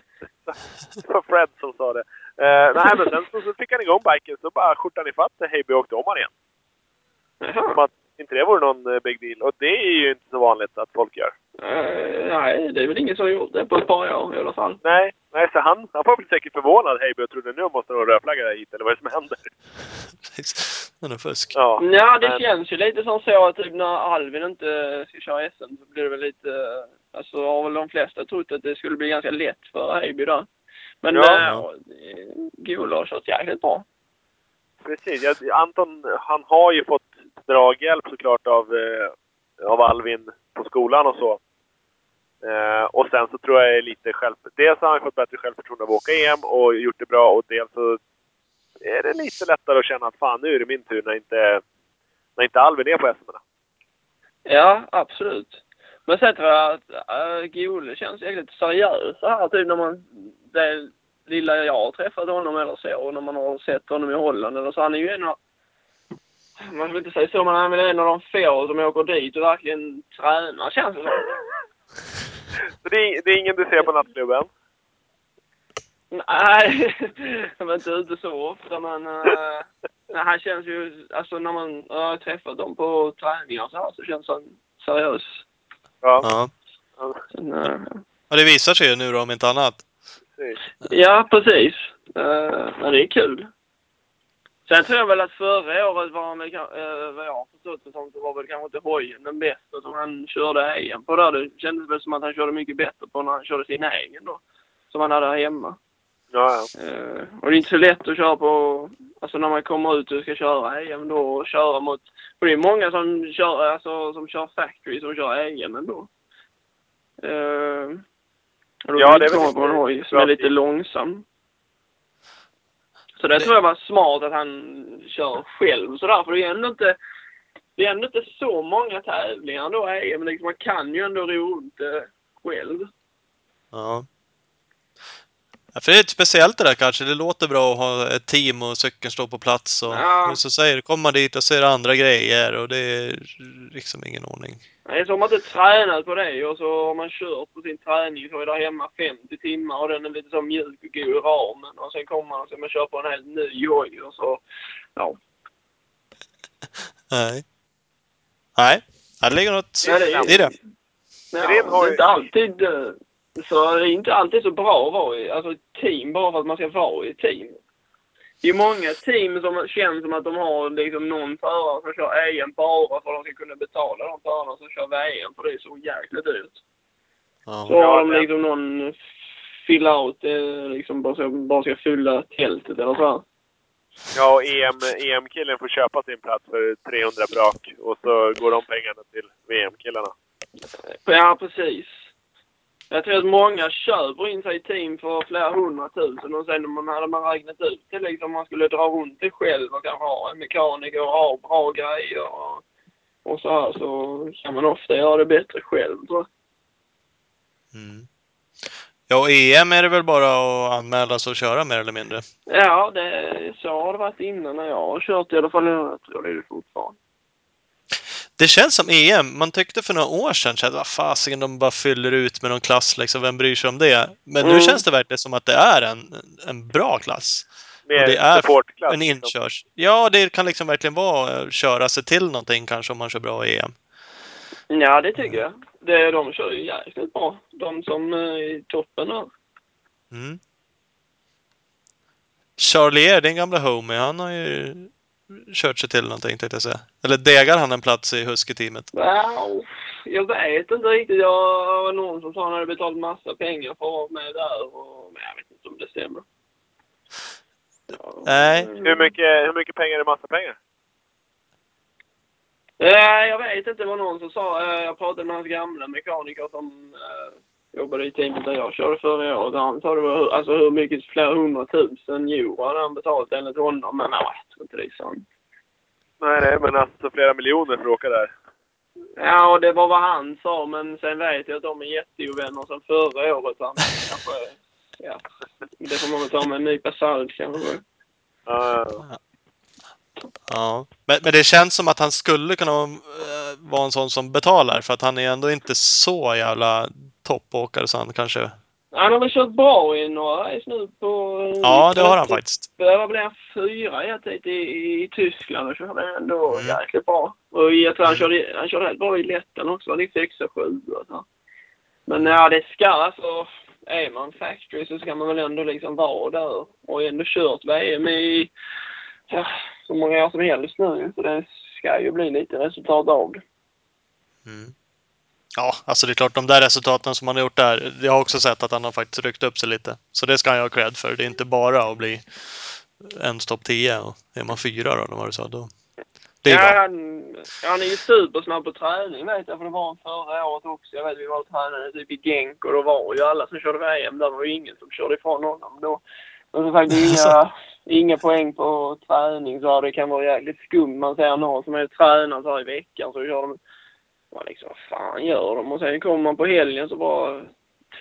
S2: det var Fred som sa det. Eh, nej, men sen så, så fick han igång biken, så bara skjortan ifatt Heiby och åkte om han igen. Som
S3: Jaha.
S2: att inte det vore någon eh, big deal. Och det är ju inte så vanligt att folk gör.
S3: Eh, Nej, det är väl ingen som har gjort det på ett par år i alla fall.
S2: Nej, nej så han, han var väl säkert förvånad, Heiby, och trodde nu måste någon rödflagga hit, eller vad är det som händer?
S1: Precis. Det är nog fusk.
S2: Ja. Eh,
S3: Ja, det
S2: men-
S3: känns ju lite som så att typ när Alvin inte eh, ska köra SM så blir det väl lite... eh, Alltså har väl de flesta trott att det skulle bli ganska lätt för Heiby då. Men eh,
S2: Ja.
S3: ja. Gula har kört jäkligt bra.
S2: Precis. Jag, Anton, han har ju fått draghjälp såklart av, eh, av Alvin på skolan och så. Eh, och sen så tror jag det är lite själv... Dels har han fått bättre självförtroende av att åka EM och gjort det bra och dels så är det lite lättare att känna att fan nu är det min tur när inte, när inte Alvin är på SM. -erna.
S3: Ja, absolut. Men sen tror jag att äh, Gule känns jäkligt seriös så här typ när man... Det lilla jag har träffat honom eller så och när man har sett honom i Holland eller så. Han är ju en av... Man vill inte säga så, men han är väl en av de få som åker dit och verkligen tränar känns det som.
S2: Så det, är, det är ingen du ser på nattklubben?
S3: Nej, jag var inte ute så ofta men... eh, nej, han känns ju... Alltså när man har träffat dem på träningar och så här så känns han seriös.
S2: Ja,
S1: Ja.
S3: Sen, eh,
S1: Och det visar sig ju nu då om inte annat.
S2: precis.
S3: Ja, precis. Uh, men det är kul. Sen tror jag väl att förra året var han väl, uh, vad jag har förstått det som, så var väl kanske inte hojen den bästa som han körde egen på där. Det kändes väl som att han körde mycket bättre på när han körde sin egen då. Som han hade här hemma.
S2: Ja, ja.
S3: Eh, och det är inte så lätt att köra på, alltså när man kommer ut och ska köra EM då och köra mot, för det är många som kör, alltså som kör factory som kör EM ändå. Eh, och då
S2: Ja, det
S3: kan det
S2: är väl
S3: komma
S2: lite
S3: på en hoj som är lite
S2: praktiskt.
S3: långsam. Så det tror jag var smart att han kör själv sådär, för det är ändå inte, det är ändå inte så många tävlingar då i EM, liksom man kan ju ändå ro runt eh, själv.
S1: Ja. Ja, för det är lite speciellt det där kanske. Det låter bra att ha ett team och cykeln står på plats. Och,
S3: Ja.
S1: och så säger du, kommer man dit och ser andra grejer och det är liksom ingen ordning.
S3: Nej, så har man inte tränat på det och så har man kört på sin träning så är där hemma 50 timmar och den är lite så mjuk och god i ramen och sen kommer man och så man kör på en helt ny hoj och så, ja.
S1: Nej. Nej, ja, det ligger något
S3: Ja, det är-
S1: i det.
S3: ja
S2: Är det en hoj?
S3: det är inte alltid, eh, så det är inte alltid så bra att vara i, alltså ett team bara för att man ska vara i ett team. Det är många team som känns som att de har liksom någon förare som kör EM bara för att de ska kunna betala de förarna som kör VM för det är så jäkla dyrt. Så
S1: Ja.
S3: har
S2: Ja,
S3: de
S2: det-
S3: liksom någon fill out, eh, liksom bara, så, bara ska fylla tältet eller så. här.
S2: Ja, och EM, EM-killen får köpa sin plats för 300 brak och så går de pengarna till VM-killarna.
S3: Ja, precis. Jag tror att många köper in sig i team för flera hundratusen och sen när man hade man räknat ut det liksom, man skulle dra runt det själv och kanske ha en mekaniker och ha bra grejer och, och så här så kan man ofta göra det bättre själv tror jag.
S1: Mm. Ja, och EM är det väl bara att anmäla sig och köra mer eller mindre.
S3: Ja, det, så har det varit innan när jag har kört i alla fall. Jag tror det är det fortfarande.
S1: Det känns som EM. Man tyckte för några år sedan att vad fasiken, de bara fyller ut med någon klass liksom. Vem bryr sig om det? Men nu
S3: Mm.
S1: känns det verkligen som att det är en, en bra klass.
S2: Mer
S1: Och det är
S2: supportklass.
S1: En inkörs... Ja, det kan liksom verkligen vara eh, köra sig till någonting kanske om man kör bra i EM.
S3: Ja, det tycker jag. Det, de kör ju jäkligt bra. De som eh, är i toppen där.
S1: Mm. Charlier, din gamla homie, han har ju kört sig till någonting tänkte jag säga. Eller degar han en plats i Husky-teamet?
S3: Wow. Jag vet inte riktigt. Jag det var någon som sa att han hade betalat massa pengar för att vara med där. Och, men jag vet inte om det stämmer. Ja.
S1: Nej.
S2: Hur mycket, hur mycket pengar är massa pengar?
S3: Nej, Eh, jag vet inte. Det var någon som sa... eh, Jag pratade med hans gamla mekaniker som eh, jobbade i teamet där jag körde förra året. Han sa det var hur- alltså, hur mycket flera hundratusen euro hade han betalat enligt honom. Men jag vet inte. Det är sant.
S2: Nej, nej, men alltså flera miljoner för att åka där.
S3: Ja, och det var vad han sa, men sen vet jag att de är jätteovänner sen förra året. Han kanske, ja, det får man väl ta med en nypa salt kanske.
S2: Ja, ja.
S1: Ja. Men, men det känns som att han skulle kunna eh, vara en sån som betalar för att han är ändå inte så jävla toppåkare så han kanske...
S3: Han har väl kört bra i några race nu på... eh,
S1: Ja, det har han faktiskt.
S3: Vad blev han? Fyra i ett heat i, i Tyskland och körde ändå
S1: Mm.
S3: jäkligt bra. Och jag tror han
S1: Mm.
S3: körde, han körde helt bra i Lettland också. Han gick sexa, sjua och så. Men ja, det ska alltså... Är man factory så ska man väl ändå liksom vara där och ändå kört VM i ja, så många år som helst nu. Så det ska ju bli lite resultat av det.
S1: Mm. Ja, alltså det är klart, de där resultaten som han har gjort där. Jag har också sett att han har faktiskt ryckt upp sig lite. Så det ska han ju ha cred för. Det är inte bara att bli ens topp 10. Och är man fyra då, eller vad du sa, då... Det är
S3: ja,
S1: bra.
S3: han, han är ju supersnabb på träning vet jag, för det var han förra året också. Jag vet vi var och tränade typ i Genk och då var ju alla som körde VM där. Det var ju ingen som körde ifrån honom då. Och som sagt, inga,
S1: Alltså.
S3: inga poäng på träning så det kan vara jäkligt skumt. Man ser någon som är tränare så här i veckan så kör de... Man liksom, vad fan gör de? Och sen kommer man på helgen så bara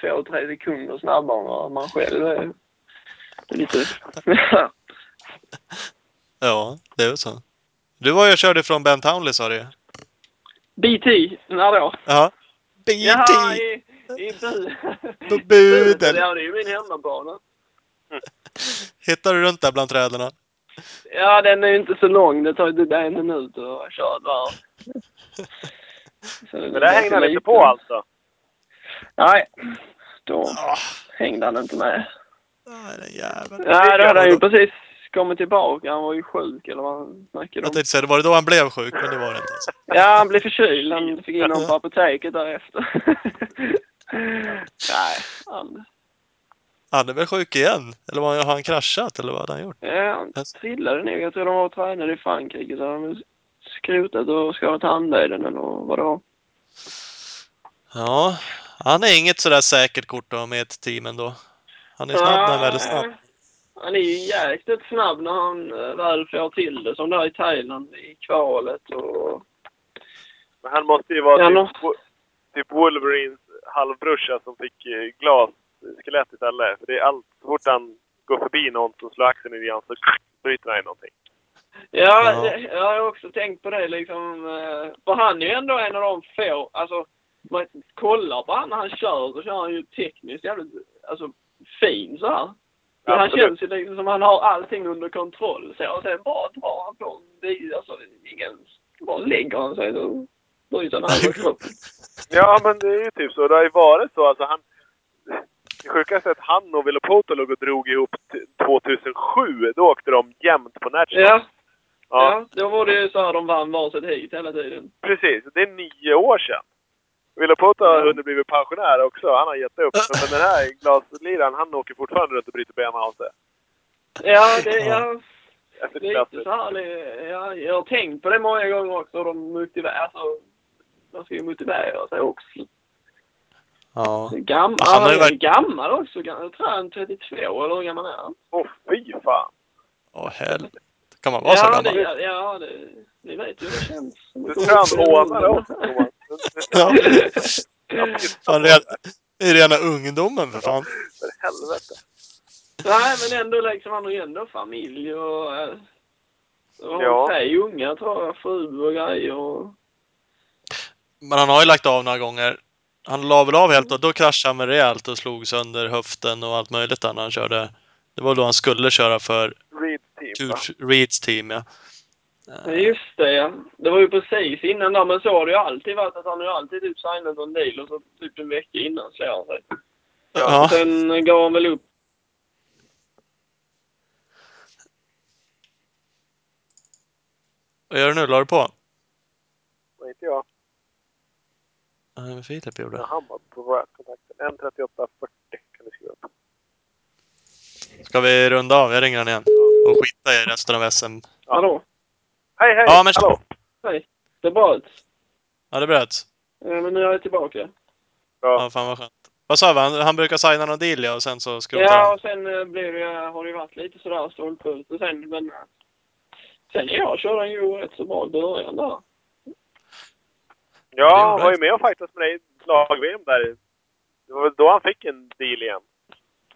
S3: två, tre sekunder snabbare än vad man själv är. Det är lite...
S1: Ja, det är väl så. Du var ju och körde från Ben Townley sa du ju.
S3: BT, när då?
S1: Ja. BT!
S3: Jaha, i, i bu.
S1: På buden.
S3: Ja, det är ju min hemmabana.
S1: Hittar du runt där bland träden?
S3: Ja, den är ju inte så lång. Det tar ju typ en minut att köra där. Så
S2: Men där hängde han inte på alltså.
S3: Nej, då
S1: Ja, Ah,
S3: hängde han inte med.
S1: den jäveln.
S3: Nej, då hade han ju precis kommit tillbaka. Han var ju sjuk eller vad han snackade
S1: Jag
S3: om.
S1: tänkte säga, det var det då han blev sjuk, men det var det inte. Alltså.
S3: Ja, han blev förkyld. Han fick in honom på apoteket därefter. Nej, han,
S1: Han är väl sjuk igen? Eller var- har han kraschat, eller vad hade han gjort?
S3: Ja, han trillade nog. Jag tror de var och tränade i Frankrike så hade de skrotat och skadat handleden eller vad det var.
S1: Ja, han är inget sådär säkert kort då med ett team ändå. Han är snabb när han väl är snabb.
S3: Eh, Han är ju jäkligt snabb när han eh, väl får till det, som där i Thailand i kvalet och...
S2: Men han måste ju vara
S3: Ja, nå.
S2: typ, Wo- typ Wolverines halvbrorsa som fick eh, glas skelett istället. För det är allt, så fort han går förbi någon som slår axeln i igen så bryter han i någonting.
S1: Ja.
S3: Ja, det- jag har också tänkt på det liksom. eh, För han är ju ändå en av de få, alltså man kollar på han när han kör så kör han ju tekniskt jävligt, alltså fin så här. Men han
S2: Absolut.
S3: känns ju liksom som han har allting under kontroll så och sen bara drar han på en bil, alltså ingen, bara lägger han sig så bryter han halva kroppen.
S2: Ja, men det är ju typ så. Det har ju varit så. Alltså, han... Det sjukaste är att han och Villopoto låg och drog ihop t- 2007. Då åkte de jämnt på National.
S3: Ja,
S2: Ja,
S3: ja, då var det ju så här de vann varsitt hit hela tiden.
S2: precis. Det är nio år sedan. Villopoto har
S3: Ja.
S2: hunnit bli pensionär också. Han har gett upp. Men den här glasliraren, han åker fortfarande runt och bryter benen av sig.
S3: Ja, det,
S1: Ja.
S3: ja.
S2: Jag tycker
S3: Lite
S2: att-
S3: så här, li- ja, jag har tänkt på det många gånger också. De motiverar, alltså, man ska ju motivera sig också.
S1: Ja.
S3: Gammal,
S1: Han
S3: han
S1: har ju
S3: är
S1: verk-
S3: gammal också. gam- Jag tror han är 32 eller hur gammal är han?
S2: Åh, fy fan!
S1: Åh helvete. Kan man vara så
S3: ja,
S1: gammal?
S3: det, ja, det, ni vet ju hur det känns.
S2: Du framhånar oss, Thomas. Du- du-
S1: Ja.
S2: jag tittar på
S1: Fan,
S2: dig,
S1: det är, det är rena ungdomen för fan.
S2: för helvete.
S3: Nej, men ändå liksom, han har ju ändå familj och... eh,
S2: Ja.
S3: Och ja. tre unga tror jag, fru och grejer. Och...
S1: Men han har ju lagt av några gånger. Han la väl av helt och då kraschade han väl rejält och slog sönder höften och allt möjligt där när han körde. Det var då han skulle köra för
S2: Reed team, va?
S1: Kurt Reeds team, ja.
S3: Ja, Just det, ja. Det var ju precis innan där, men så har det ju alltid varit. Att han har ju alltid typ signat en deal och så typ en vecka innan slår han sig.
S1: ja.
S3: Sen gav han väl upp.
S1: Vad gör du nu? La du på?
S2: Nej, inte jag.
S1: Nej, men Filip gjorde
S2: Men
S1: det.
S2: han var på våra kontakter. 1.38,40 kan du skriva upp.
S1: Ska vi runda av? Jag ringer han igen. Och skita i resten av SM.
S3: Hallå?
S2: Hej, hej!
S1: Ja, men-
S2: Hallå!
S3: Hej. Det är bra ut.
S1: Ja, det bröts.
S3: Ja, men nu är jag tillbaka.
S1: Ja, fan vad skönt. Vad sa vi? Han, han brukar signa någon deal ja, och sen så skrotar
S3: Ja,
S1: han.
S3: och sen eh, blev det, har det ju varit lite sådär stolpe ut. Och sen, men... eh, Sen ja, körde han ju rätt så bra i början där.
S1: Det är
S2: Ja,
S1: bra.
S2: han var ju med och fightades med dig i lag-VM där. Det var väl då han fick en deal igen.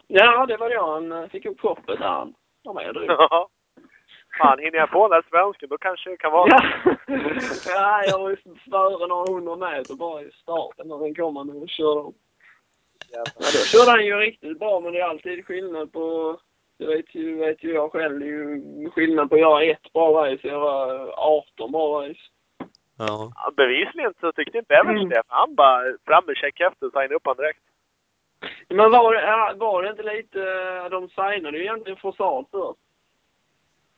S3: Ja, det var då han eh, fick upp hoppet där. Han var med drygt.
S2: Ja. Fan, hinner jag på den där svensken då kanske det kan vara...
S3: Ja. ja, jag var ju före några hundra meter bara i starten när den kom han och körde om. Ja, då körde han ju riktigt bra, men det är alltid skillnad på... Det vet ju, vet ju jag själv, det är ju skillnad på att göra ett bra race och göra 18 bra race.
S1: Ja.
S2: Ja, bevisligen så tyckte inte Evans
S3: Mm.
S2: det. för Han bara fram med checkhäftet och signade upp honom direkt.
S3: Men var det, ja, var det inte lite... eh, De signade ju egentligen Forsard först.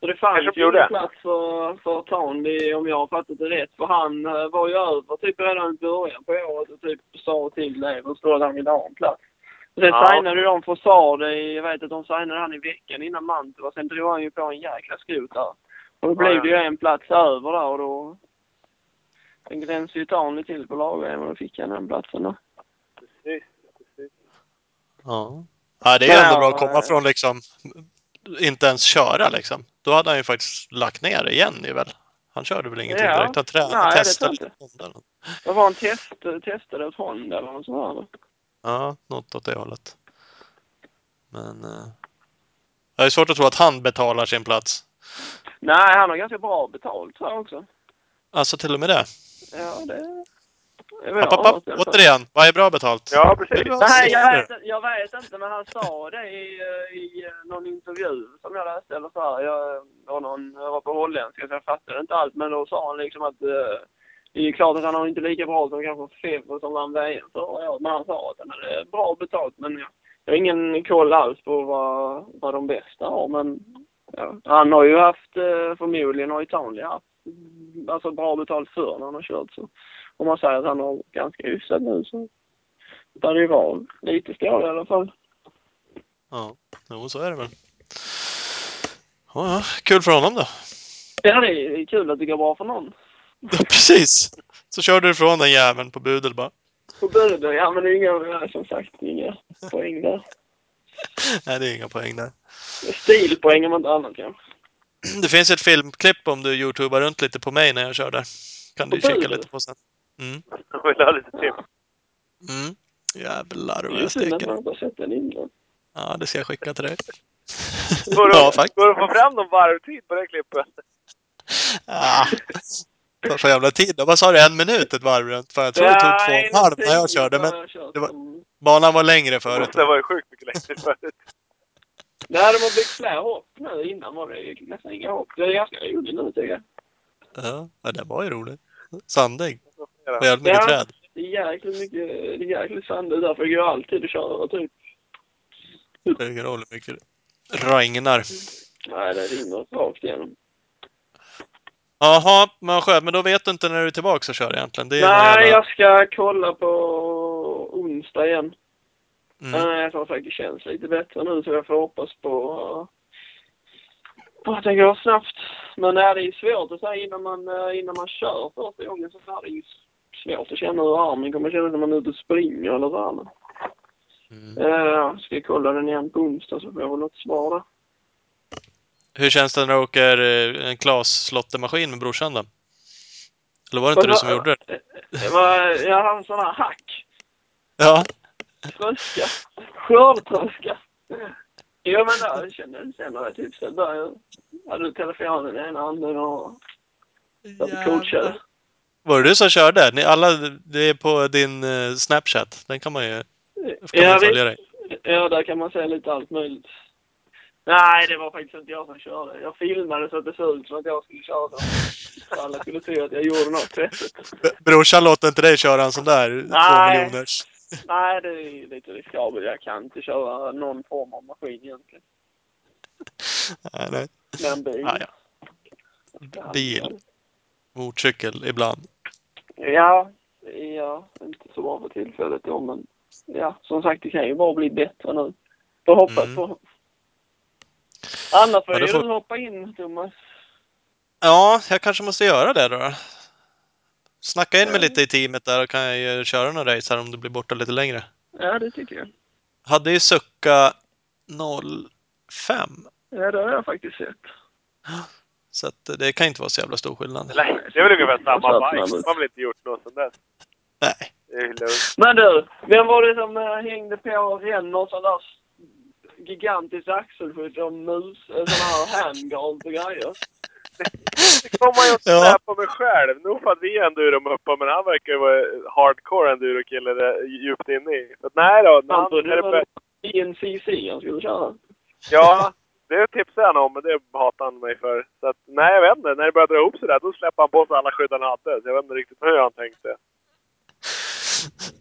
S3: Så det
S2: Kanske
S3: fanns
S2: de
S3: ju
S2: gjorde.
S3: ingen plats för, för Townley om jag har fattat det rätt. För han eh, var ju över typ redan i början på året och typ sa till Levers då att han ville ha en plats. Sen
S2: Ja.
S3: signade ju de Forsard i... Jag vet att de signade han i veckan innan Mantua. Sen drog han ju på en jäkla skrot där. Och då blev
S2: ja.
S3: det ju en plats över där och då... Sen gränsade ju Townley till på lag och då fick han den platsen då.
S2: Precis, precis.
S1: Ja. ja det är ju
S3: Ja,
S1: ändå bra att komma
S3: ja.
S1: från liksom... Inte ens köra liksom. Då hade han ju faktiskt lagt ner igen ju väl. Han körde väl ingenting
S3: Ja.
S1: direkt. Han tränade,
S3: Nej, det
S1: testade
S3: tror
S1: lite.
S3: Vad var han test, testade åt Honda eller något sånt där?
S1: Ja, något åt det hållet. Men... Eh, det är svårt att tro att han betalar sin plats.
S3: Nej, han har ganska bra betalt tror jag också.
S1: Alltså till och med det.
S3: Ja, det... Jag
S1: App, app, app. Återigen, vad är bra betalt?
S2: Ja,
S1: Det är
S2: precis.
S1: bra
S3: Nej, jag
S1: siffror.
S3: vet, jag vet inte, men han sa det i, eh, i eh, någon intervju som jag läste eller så här. Jag, eh, var någon, jag var på holländska så jag fattade inte allt, men då sa han liksom att eh, det är ju klart att han har inte lika bra som kanske Feber som vann VM förra året, men han sa att han hade bra betalt. Men jag, jag har ingen koll alls på vad, vad de bästa har, men ja. han har ju haft, eh, förmodligen har ju Townley haft mm, alltså bra betalt förr när han har kört. Så om man säger att han har ganska hyfsat nu så där det var lite stål i alla fall.
S1: Ja, jo, så är det väl. Ja, ja. Kul för honom då.
S3: Ja, det är kul att det går bra för någon.
S1: Ja, precis! Så körde du ifrån den jäveln på budel bara.
S3: På Buder, ja men det är inga, som sagt, inga poäng där.
S1: Nej, det är inga poäng där.
S3: Stilpoäng om inte annat kanske. Mm.
S1: Det finns ett filmklipp om du youtubar runt lite på mig när jag kör där. Kan du
S3: På
S1: kika
S3: budel?
S1: lite på sen. Mm.
S2: Jag vill ha lite tips.
S1: Mm. Jävlar
S3: Det är
S1: vad
S3: ju
S1: jag
S3: synd att
S1: steker.
S3: man inte har sett den innan.
S1: Ja, det ska jag skicka till dig.
S2: Går
S1: ja,
S2: det
S1: faktiskt.
S2: går det att få fram någon varvtid på det klippet?
S1: Ah. Vad för jävla tid då? Vad sa du? En minut ett varv runt? För jag tror det tog två och en halv när jag körde, men det var- banan var längre
S2: Det
S1: förut.
S2: måste ha varit sjukt mycket längre förut.
S3: Nej, de har byggt fler hopp nu. Innan var det ju nästan inga hopp. Det är ganska roligt nu tycker jag.
S1: Ja, men det var ju roligt. Sandig.
S2: Ja.
S1: Och jävligt mycket
S3: Ja.
S1: träd.
S3: Det är jäkligt mycket, det är jäkligt sandigt därför det går alltid att köra typ.
S1: Det ingen roll hur mycket det regnar.
S3: Nej, det rinner rakt igenom.
S1: Jaha, men vad skönt. Men då vet du inte när du är tillbaka och kör egentligen? Det är någon
S3: Nej,
S1: jävla...
S3: jag ska kolla på onsdag igen.
S1: Mm.
S3: Nej, som sagt, det känns lite bättre nu så jag får hoppas på... Bara det går snabbt. Men nej, det är ju svårt att säga innan man, eh, innan man kör första gången. Så här, det är ju svårt att känna hur armen kommer att kännas när man är ute och springer eller så. Här.
S1: Mm.
S3: Eh, ska jag kolla den igen på onsdag så får jag väl något svar där.
S1: Hur känns det när du åker eh, en Klas-slottemaskin med brorsan då? Eller var det inte
S3: Vad
S1: du
S3: sa-
S1: som gjorde det?
S3: Det var, eh, jag hade en sån här hack.
S1: Ja.
S3: Tröska. Skördtröska. Jo men då kände jag senare typ så där. Jag hade telefonen i ena handen och satt och coachade.
S1: Var det du som körde? Ni alla, det är på din eh, Snapchat. Den kan man ju, kan man
S3: Ja,
S1: ju följa dig.
S3: Ja, där kan man säga lite allt möjligt. Nej, det var faktiskt inte jag som körde. Jag filmade så att det såg ut som att jag skulle köra. Så alla skulle tro att jag gjorde något vettigt.
S1: B- Brorsan låter inte dig köra en sån där eh, två
S3: Nej.
S1: miljoners.
S3: Nej, det är lite riskabelt. Jag kan inte köra någon form av maskin egentligen.
S1: Nej, nej.
S3: Men bil.
S1: Ja, ja. Bil, motorcykel ibland.
S3: Ja, ja, inte så bra för tillfället då, men ja, som sagt, det kan ju bara bli bättre nu. Får hoppas
S1: Mm.
S3: på. Annars får
S1: Ja, det
S3: ju
S1: får-
S3: du hoppa in, Thomas.
S1: Ja, jag kanske måste göra det då. Snacka
S3: Mm.
S1: in mig lite i teamet där och kan jag ju köra några race här om du blir borta lite längre.
S3: Ja, det tycker jag.
S1: Hade ju Sucka 05,
S3: Ja, det har jag faktiskt sett.
S1: så att det kan inte vara så jävla stor skillnad.
S2: Nej, det är väl ungefär samma
S3: Jag satt
S2: bike.
S3: snabb ut.
S2: Man har väl inte gjort något sånt där.
S1: Nej.
S2: Det är lugnt.
S3: Men du, vem var det som eh, hängde på Renner sån där s- gigantisk axelskydd och mus, eh, sån här handguards och grejer?
S2: Det kommer jag
S1: Ja.
S2: inte på mig själv. Nog för att vi är enduro uppe, men han verkar ju vara hardcore enduro-kille där djupt inne i. Så att nej då. när
S3: Han
S2: han-
S3: trodde
S2: är det
S3: det var
S2: på-
S3: INCC han skulle köra.
S2: Ja, det tipsade han om, men det hatar han mig för. Så att, nej, jag vet inte. När det började dra ihop sig där, då släpper han på sig alla skydd han hade. Så jag vet inte riktigt hur han tänkte.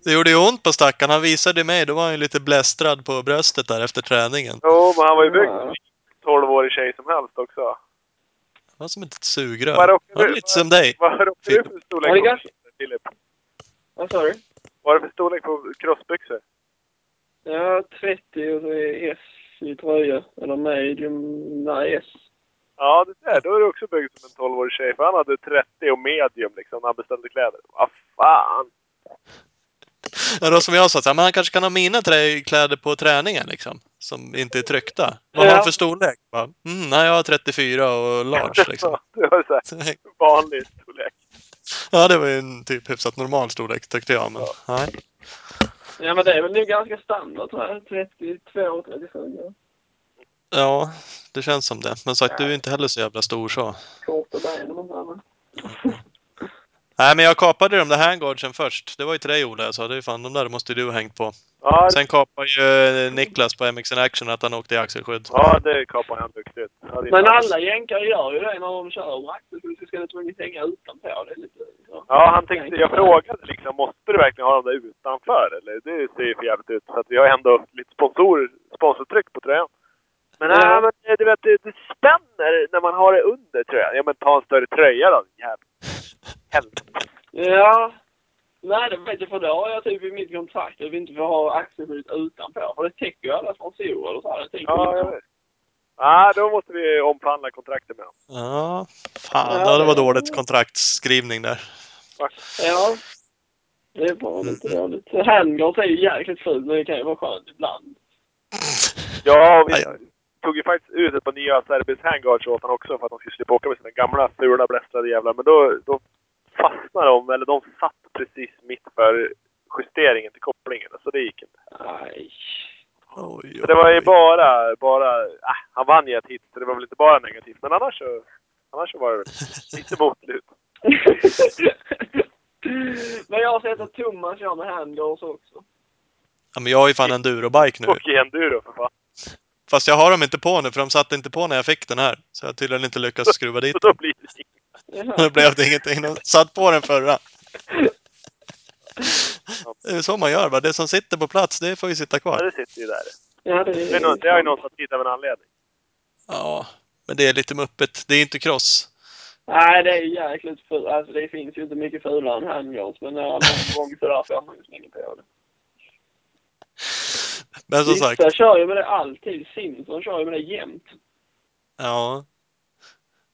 S1: Det gjorde ju ont på stackaren. Han visade mig, då var han ju lite blästrad på bröstet där efter träningen.
S2: Jo, men han var ju byggd som
S3: Ja.
S2: en 12-årig tjej som helst också.
S1: Det var som ett sugrör.
S2: Vad råkar
S1: Han är
S2: du-
S1: lite som dig.
S2: Vad råkade du för
S3: Ja, det
S2: storlek på
S3: kanske-
S2: byxor, Filip?
S3: Vad sa du?
S2: Vad är det för storlek på crossbyxor?
S3: Ja, 30 och så är S i tröja. Eller medium, nej S.
S2: Ja, det där. Då är du också byggd som en 12-årig tjej. För han hade 30 och medium liksom när han beställde kläder. Vad fan!
S1: Ja, då som jag sa, så här, men han kanske kan ha mina trä- kläder på träningen liksom. Som inte är tryckta. Vad har
S3: Ja.
S1: han för storlek? Bara, Mm, nej, jag har 34 och large liksom.
S2: det var så här vanlig storlek.
S1: Ja, det var ju en typ hyfsat normal storlek tyckte jag. Men, nej.
S3: Ja, men det är väl nu ganska standard tror jag. 32, 34.
S1: Ja, det känns som det. Men sagt, du är ju inte heller så jävla stor så.
S3: Korta ben och sånt där.
S1: Nej, men jag kapade de där handguardsen först. Det var ju till dig Ola jag sa. Det är ju fan, de där måste ju du ha hängt på.
S2: Ja,
S1: Sen kapade ju eh, Niklas på MXN Action att han åkte i axelskydd.
S2: ja det kapar han duktigt. Ja, det är
S3: Men
S2: sant.
S3: alla jänkare gör ju det när de kör med axelskydd. Så ska det tvunget hänga utanpå. Det är lite... Ja.
S2: Ja, han tänkte, jag frågade liksom, måste du verkligen ha dem där utanför eller? Det ser ju för jävligt ut. Så att vi har ändå lite sponsor, sponsortryck på tröjan. Men
S3: Ja.
S2: nej, men eh, du vet, det, det spänner när man har det under tröjan. Ja men ta en större tröja då, jävlar. Helvete.
S3: Ja. Nej, det vet jag för då har jag typ i mitt kontrakt att vi inte får ha axelskydd utanpå. För det täcker ju alla sponsorer och så här. Det täcker
S2: Ja, jag
S3: liksom.
S2: vet. Ja, då måste vi omförhandla kontraktet med honom.
S1: Ja, fan. Ja, det var dåligt kontraktsskrivning där.
S3: ja. Det är bara lite
S2: Mm.
S3: dåligt. Handguards är ju jäkligt fult men det kan ju vara skönt ibland.
S2: Ja, och vi
S1: Aj, aj.
S2: tog ju faktiskt ut ett par nya Serbis handguards åt honom också för att de skulle slippa åka med sina gamla fula blästrade jävlar. Men då, då fastnade de, eller de satt precis mitt för justeringen till kopplingen. Så det gick inte.
S3: Aj.
S1: Oj, oj,
S2: Så det var ju
S1: oj.
S2: bara, bara, äh, han vann ju ett hit så det var väl inte bara negativt. Men annars så, annars så var det väl lite motlut.
S3: men jag har sett att Thomas kör med handguards också.
S1: Ja, men jag har ju fan en durobike nu.
S2: Och i enduro för fan.
S1: Fast jag har dem inte på nu, för de satt inte på när jag fick den här. Så jag har tydligen inte lyckats skruva dit
S2: Så då blir det inget.
S1: den. Då blev det ingenting. De satt på den förra. Det är så man gör va. Det som sitter på plats, det får ju sitta
S2: Ja,
S1: kvar.
S2: det sitter ju där.
S3: Ja,
S2: Det, är någon, det har ju någon satt dit av en anledning.
S1: Ja, men det är lite muppet. Det är inte cross.
S3: Nej, det är jäkligt fult. Alltså det finns ju inte mycket fulare än handguards, men när man någon gång sådär får man ju slänga på det.
S1: Men som sagt,
S3: Vissa kör ju med det alltid. Simpson kör ju med det jämt.
S1: ja.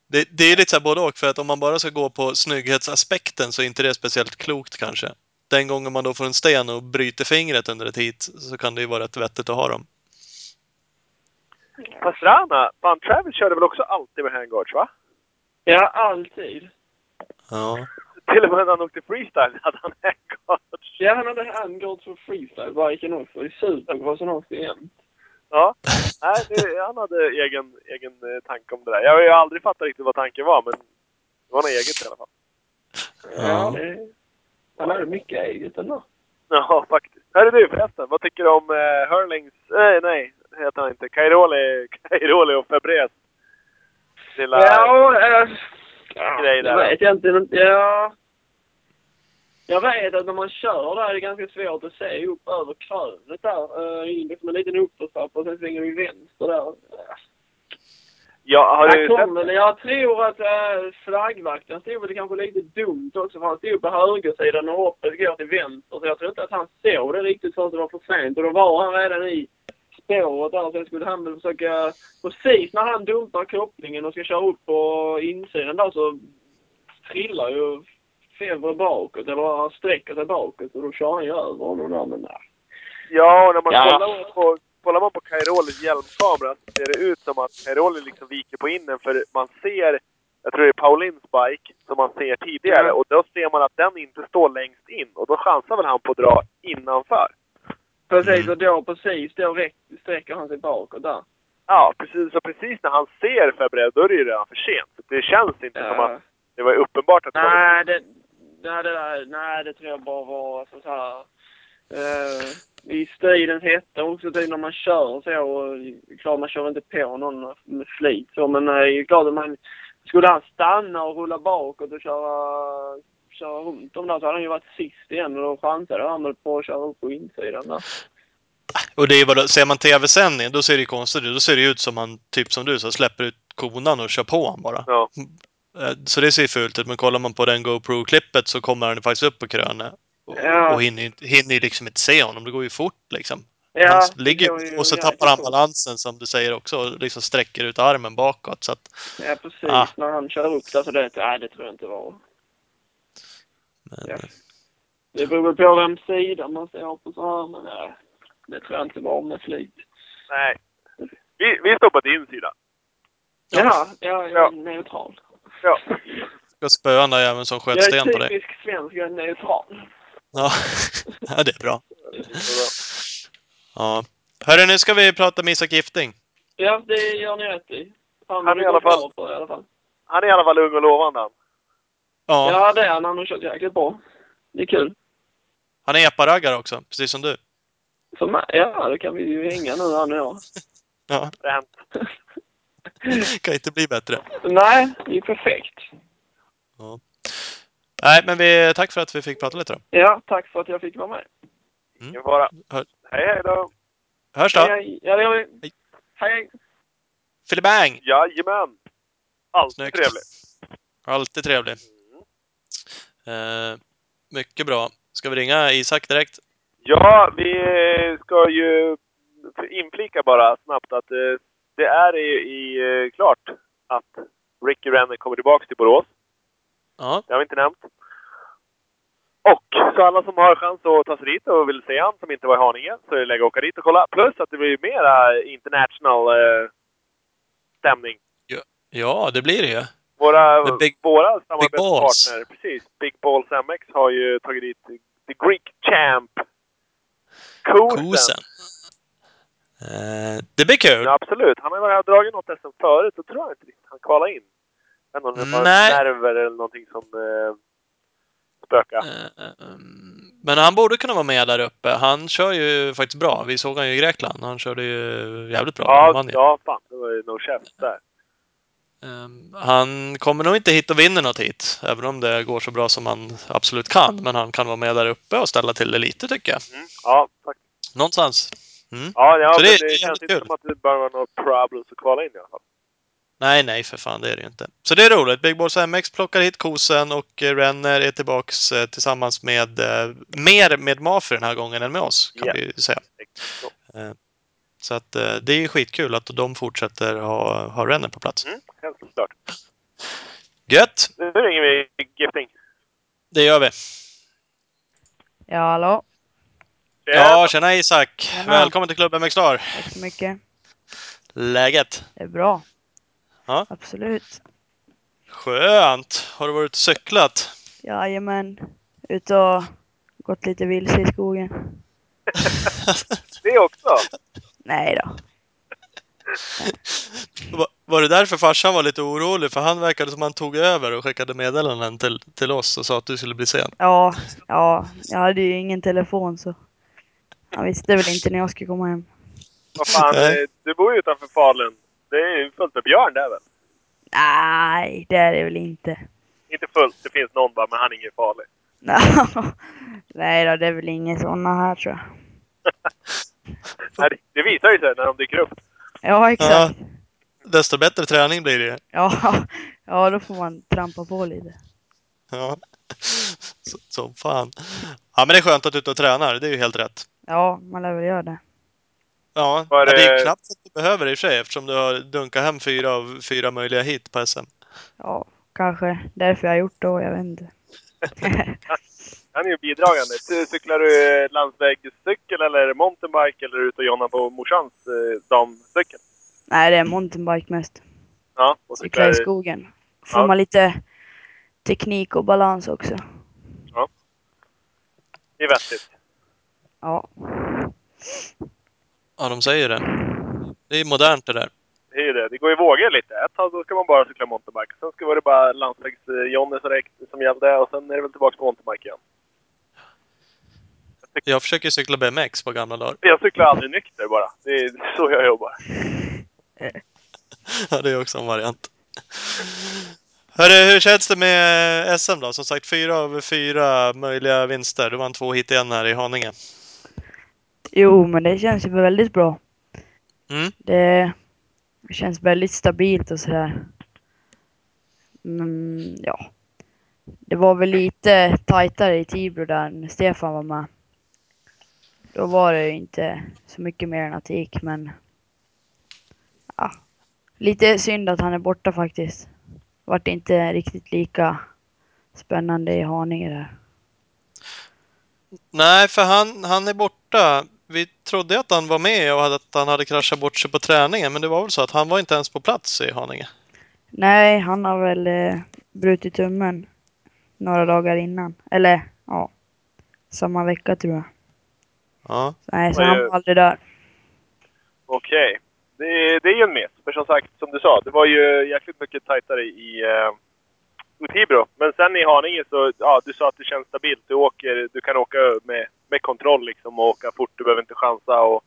S1: Det, det är lite så här både och, för att om man bara ska gå på snygghetsaspekten så är inte det speciellt klokt kanske. Den gången man då får en sten och bryter fingret under ett hit så kan det ju vara rätt vettigt att ha dem.
S2: Pastrana, Van Travis körde väl också alltid med handguards, va?
S3: Ja, alltid.
S1: Ja.
S2: Till och med när han åkte freestyle hade han handguards.
S3: Ja, han hade handguards för freestyle varken också. I supercrossen också igen.
S2: Ja. Nej, det, han hade egen, egen eh, tanke om det där. Jag har ju aldrig fattat riktigt vad tanken var, men det var något eget i alla fall.
S1: Ja.
S3: Ja, det, han hade mycket eget ändå.
S2: Ja, faktiskt. Hörru du förresten, vad tycker du om eh, Hurlings... Nej, nej, det heter han inte. Cairoli, Cairoli och Febres lilla...
S3: Ja, eh,
S2: Grej
S3: jag
S2: där.
S3: vet jag inte. men- Ja. Jag vet att när man kör där är det ganska svårt att se upp över krönet där. Uh, in liksom en liten uppförstrappa och sen svänger du vänster där. Eh,
S2: Ja, har du
S3: Jag,
S2: sett
S3: kom, men jag tror att äh, flaggvakten stod väl kanske lite dumt också för han stod på högersidan och hoppet går till vänster så jag tror inte att han såg det riktigt förrän det var för sent och då var han redan i spåret där sen skulle han väl försöka... Precis när han dumpar kopplingen och ska köra upp på insidan där så trillar ju Fevre bakåt eller han sträcker sig bakåt och då kör han ju över honom där men nej.
S2: Ja, och när man
S3: Ja.
S2: kollar på, kollar man på Cairolis hjälmkamera så ser det ut som att Cairoli liksom viker på innen för man ser, jag tror det är Paulins bike, som man ser tidigare.
S3: Ja.
S2: Och då ser man att den inte står längst in och då chansar väl han på att dra innanför.
S3: Precis och då precis då räck- sträcker han sig bakåt där.
S2: Ja, precis. Så precis när han ser Febre, då är det ju redan för sent. Så det känns inte som
S3: Ja.
S2: att det var uppenbart att det var...
S3: Nej, det, nej, det, där, nej, det tror jag bara var alltså, så här, eh, i stridens hetta också typ när man kör så. Och, klart man kör inte på någon med flit så, men eh, det är ju klart att man skulle han stanna och rulla bakåt och köra, köra runt dem där så hade han ju varit sist igen och då chansade han väl på att köra upp på insidan där.
S1: Och det är bara, ser man tv-sändningen då ser det ju konstigt ut. Då ser det ut som han, typ som du sa, släpper ut konan och kör på han bara.
S2: Ja.
S1: Eh, Så det ser fult ut, men kollar man på den GoPro-klippet så kommer han faktiskt upp på krönet. Och,
S3: Ja.
S1: och hinner, inte- hinner ju liksom inte se honom, det går ju fort liksom.
S3: Ja,
S1: han
S3: det
S1: ligger
S3: går ju
S1: ju, och så
S3: jäkligt
S1: tappar han
S3: fort.
S1: balansen som du säger också och liksom sträcker ut armen bakåt. Så att,
S3: Ja, precis.
S1: Ah.
S3: När han kör upp där så det, nej, det tror jag inte var.
S1: men, eh.
S3: Ja. Det beror väl på vem sida man står på så här, men nej, det tror jag inte var med flit.
S2: Nej. Vi, vi står på din sida.
S1: Ja.
S3: Ja, jag är
S2: Ja.
S3: neutral.
S2: Ja.
S1: Ska spöa den där jäveln som
S3: Jag
S1: sköt
S3: är
S1: sten på dig.
S3: typisk svensk, jag är neutral.
S1: Ja. ja, det är bra. Ja. Hörru, nu ska vi prata med Isak Gifting.
S3: Ja, det gör ni rätt i. Han,
S2: Han är i alla
S3: går
S2: fall-
S3: bra På, i alla fall.
S2: Han är i alla fall ung och lovande han.
S1: Ja,
S3: Ja. det är han. Han har kört jäkligt bra. Det är kul.
S1: han är epa-raggare också, precis som du.
S3: För mig, ja, då kan vi ju hänga nu han och jag.
S1: Ja,
S2: Fränt.
S1: kan inte bli bättre.
S3: Nej, det är ju perfekt.
S1: Nej, men vi, tack för att vi fick prata lite då.
S3: Ja, tack för att jag fick vara med.
S2: Ingen fara.
S1: Mm. Hör-
S2: Hej, hej då.
S1: Hörs då!
S3: Hej, hej. Ja, det gör vi.
S1: Hej.
S3: Hej, hej.
S1: Filibang!
S2: Jajamän! Alltid
S1: Snyggt.
S2: trevligt. Mm.
S1: Alltid trevlig. Eh, mycket bra. Ska vi ringa Isak direkt?
S2: Ja, vi ska ju inflika bara snabbt att eh, det är i, i, eh, klart att Ricky Renner kommer tillbaka till Borås.
S1: Ja,
S2: Det har vi inte nämnt. Och så alla som har chans att ta sig dit och vill se han som inte var i Haninge, så är det läge att åka dit och kolla. Plus att det blir mera international eh, stämning.
S1: ja det blir det ju.
S2: Våra,
S1: The big-
S2: våra
S1: balls.
S2: samarbetspartner, precis, Big Balls MX har ju tagit dit The Greek Champ. Kosen.
S1: Kosen. Eh, det blir kul.
S2: Ja, absolut. Han har varit här och dragit något SM förut, så tror jag inte riktigt han kvalade in. Jag vet inte om det var
S1: Nej.
S2: nerver eller någonting som eh, spökade.
S1: Eh, um, Men han borde kunna vara med där uppe. Han kör ju faktiskt bra. Vi såg han ju i Grekland. Han körde ju jävligt bra. han
S2: Ja,
S1: vann ju.
S2: ja, fan. Det var ju no chef där.
S1: Ehm, Han kommer nog inte hit och vinner något hit, även om det går så bra som han absolut kan. Men han kan vara med där uppe och ställa till det lite, tycker jag.
S2: Mm. Ja, tack.
S1: Någonstans.
S2: Ja, ja
S1: Så
S2: men
S1: det är
S2: det,
S1: jävligt
S2: känns inte
S1: kul.
S2: som att det bara var något problems att kvala in i alla fall.
S1: Nej, nej, för fan, det är det ju inte. Så det är roligt. Big Balls MX plockar hit kosen och eh, Renner är tillbaks eh, tillsammans med eh, mer med Mafer den här gången än med oss, kan
S2: Ja.
S1: vi ju säga.
S2: Så.
S1: Så eh, att eh, det är skitkul att de fortsätter ha, ha Renner på plats.
S2: Mm, helt klart.
S1: Gött!
S2: Nu ringer vi Gifting.
S1: Det gör vi.
S4: Ja, hallå.
S1: Ja, tjena Isak!
S4: Tjena.
S1: Välkommen till klubben MXstar!
S4: Tack så mycket.
S1: Läget?
S4: Det är bra.
S1: Ja.
S4: Absolut.
S1: Skönt! Har du varit ute och cyklat?
S4: Jajamän. Ut och gått lite vilse i skogen.
S2: Det också!
S4: Nej då.
S1: Va- Var det därför farsan var lite orolig? För han verkade som han tog över och skickade meddelanden till, till oss och sa att du skulle bli sen.
S4: Ja, ja, jag hade ju ingen telefon så. Han visste väl inte när jag skulle komma hem.
S2: Vad fan,
S1: Nej.
S2: eh, du bor ju utanför Falun. Det är ju fullt med björn där väl?
S4: Nej, det är det väl inte.
S2: Inte fullt, det finns någon bara, men han är ingen farlig.
S4: Nej då, det är väl inga sådana här tror jag.
S2: Nej, det- Det visar ju sig när de dyker upp.
S4: Ja, exakt.
S1: Desto bättre träning blir det ju.
S4: Ja, ja då får man trampa på lite.
S1: Ja. Så- Som fan. Ja, men det är skönt att du är ute och tränar. Det är ju helt rätt.
S4: Ja, man lär väl göra det.
S1: Ja,
S2: Var
S1: men det är ju
S2: det-
S1: knappt att du behöver det i och för sig eftersom du har dunkat hem fyra av fyra möjliga hit på SM.
S4: Ja, kanske därför jag har gjort det, jag vet inte.
S2: Han är ju bidragande. Du- Cyklar du eh, landsvägscykel eller mountainbike eller är du ute och jonnar på morsans eh, damcykel?
S4: Nej, det är mountainbike mest.
S2: Ja, och
S4: Cykla i
S2: cyklar...
S4: skogen. Får
S2: Ja.
S4: man lite teknik och balans också.
S2: Det är vettigt.
S4: Ja,
S1: Ja, de säger det. Det är modernt det där.
S2: Det är ju det. Det går i vågor lite. Ett tag då ska man bara cykla mountainbike. Sen ska det bara landsvägs-Jonny som, räck- som gällde och sen är det väl tillbaka på mountainbike igen.
S1: Jag försöker cykla BMX på gamla dagar.
S2: Jag cyklar aldrig nykter bara. Det är så jag jobbar.
S1: Ja, det är också en variant. Hörru, hur känns det med SM då? Som sagt, fyra av fyra möjliga vinster. Du vann två hit igen här i Haninge.
S4: jo men det känns ju väldigt bra.
S1: Mm.
S4: Det känns väldigt stabilt och sådär. Mm, ja. Det var väl lite tajtare i Tibro där när Stefan var med. Då var det ju inte så mycket mer än att det gick men... Ja. Lite synd att han är borta faktiskt. Vart inte riktigt lika spännande i Haninge där.
S1: Nej, för han, han är borta. Vi trodde att han var med och att han hade kraschat bort sig på träningen, men det var väl så att han var inte ens på plats i Haninge.
S4: Nej, han har väl eh, brutit tummen några dagar innan. Eller ja, samma vecka tror jag.
S1: Ja.
S4: Nej, så
S2: Vad
S4: han
S2: gör-
S4: var aldrig där.
S2: Okej. Det, det är ju en miss. För som sagt, som du sa, det var ju jäkligt mycket tajtare i, eh, i Tibro. Men sen i Haninge så, ja, du sa att det känns stabilt. Du, åker, du kan åka med, med kontroll liksom och åka fort. Du behöver inte chansa och,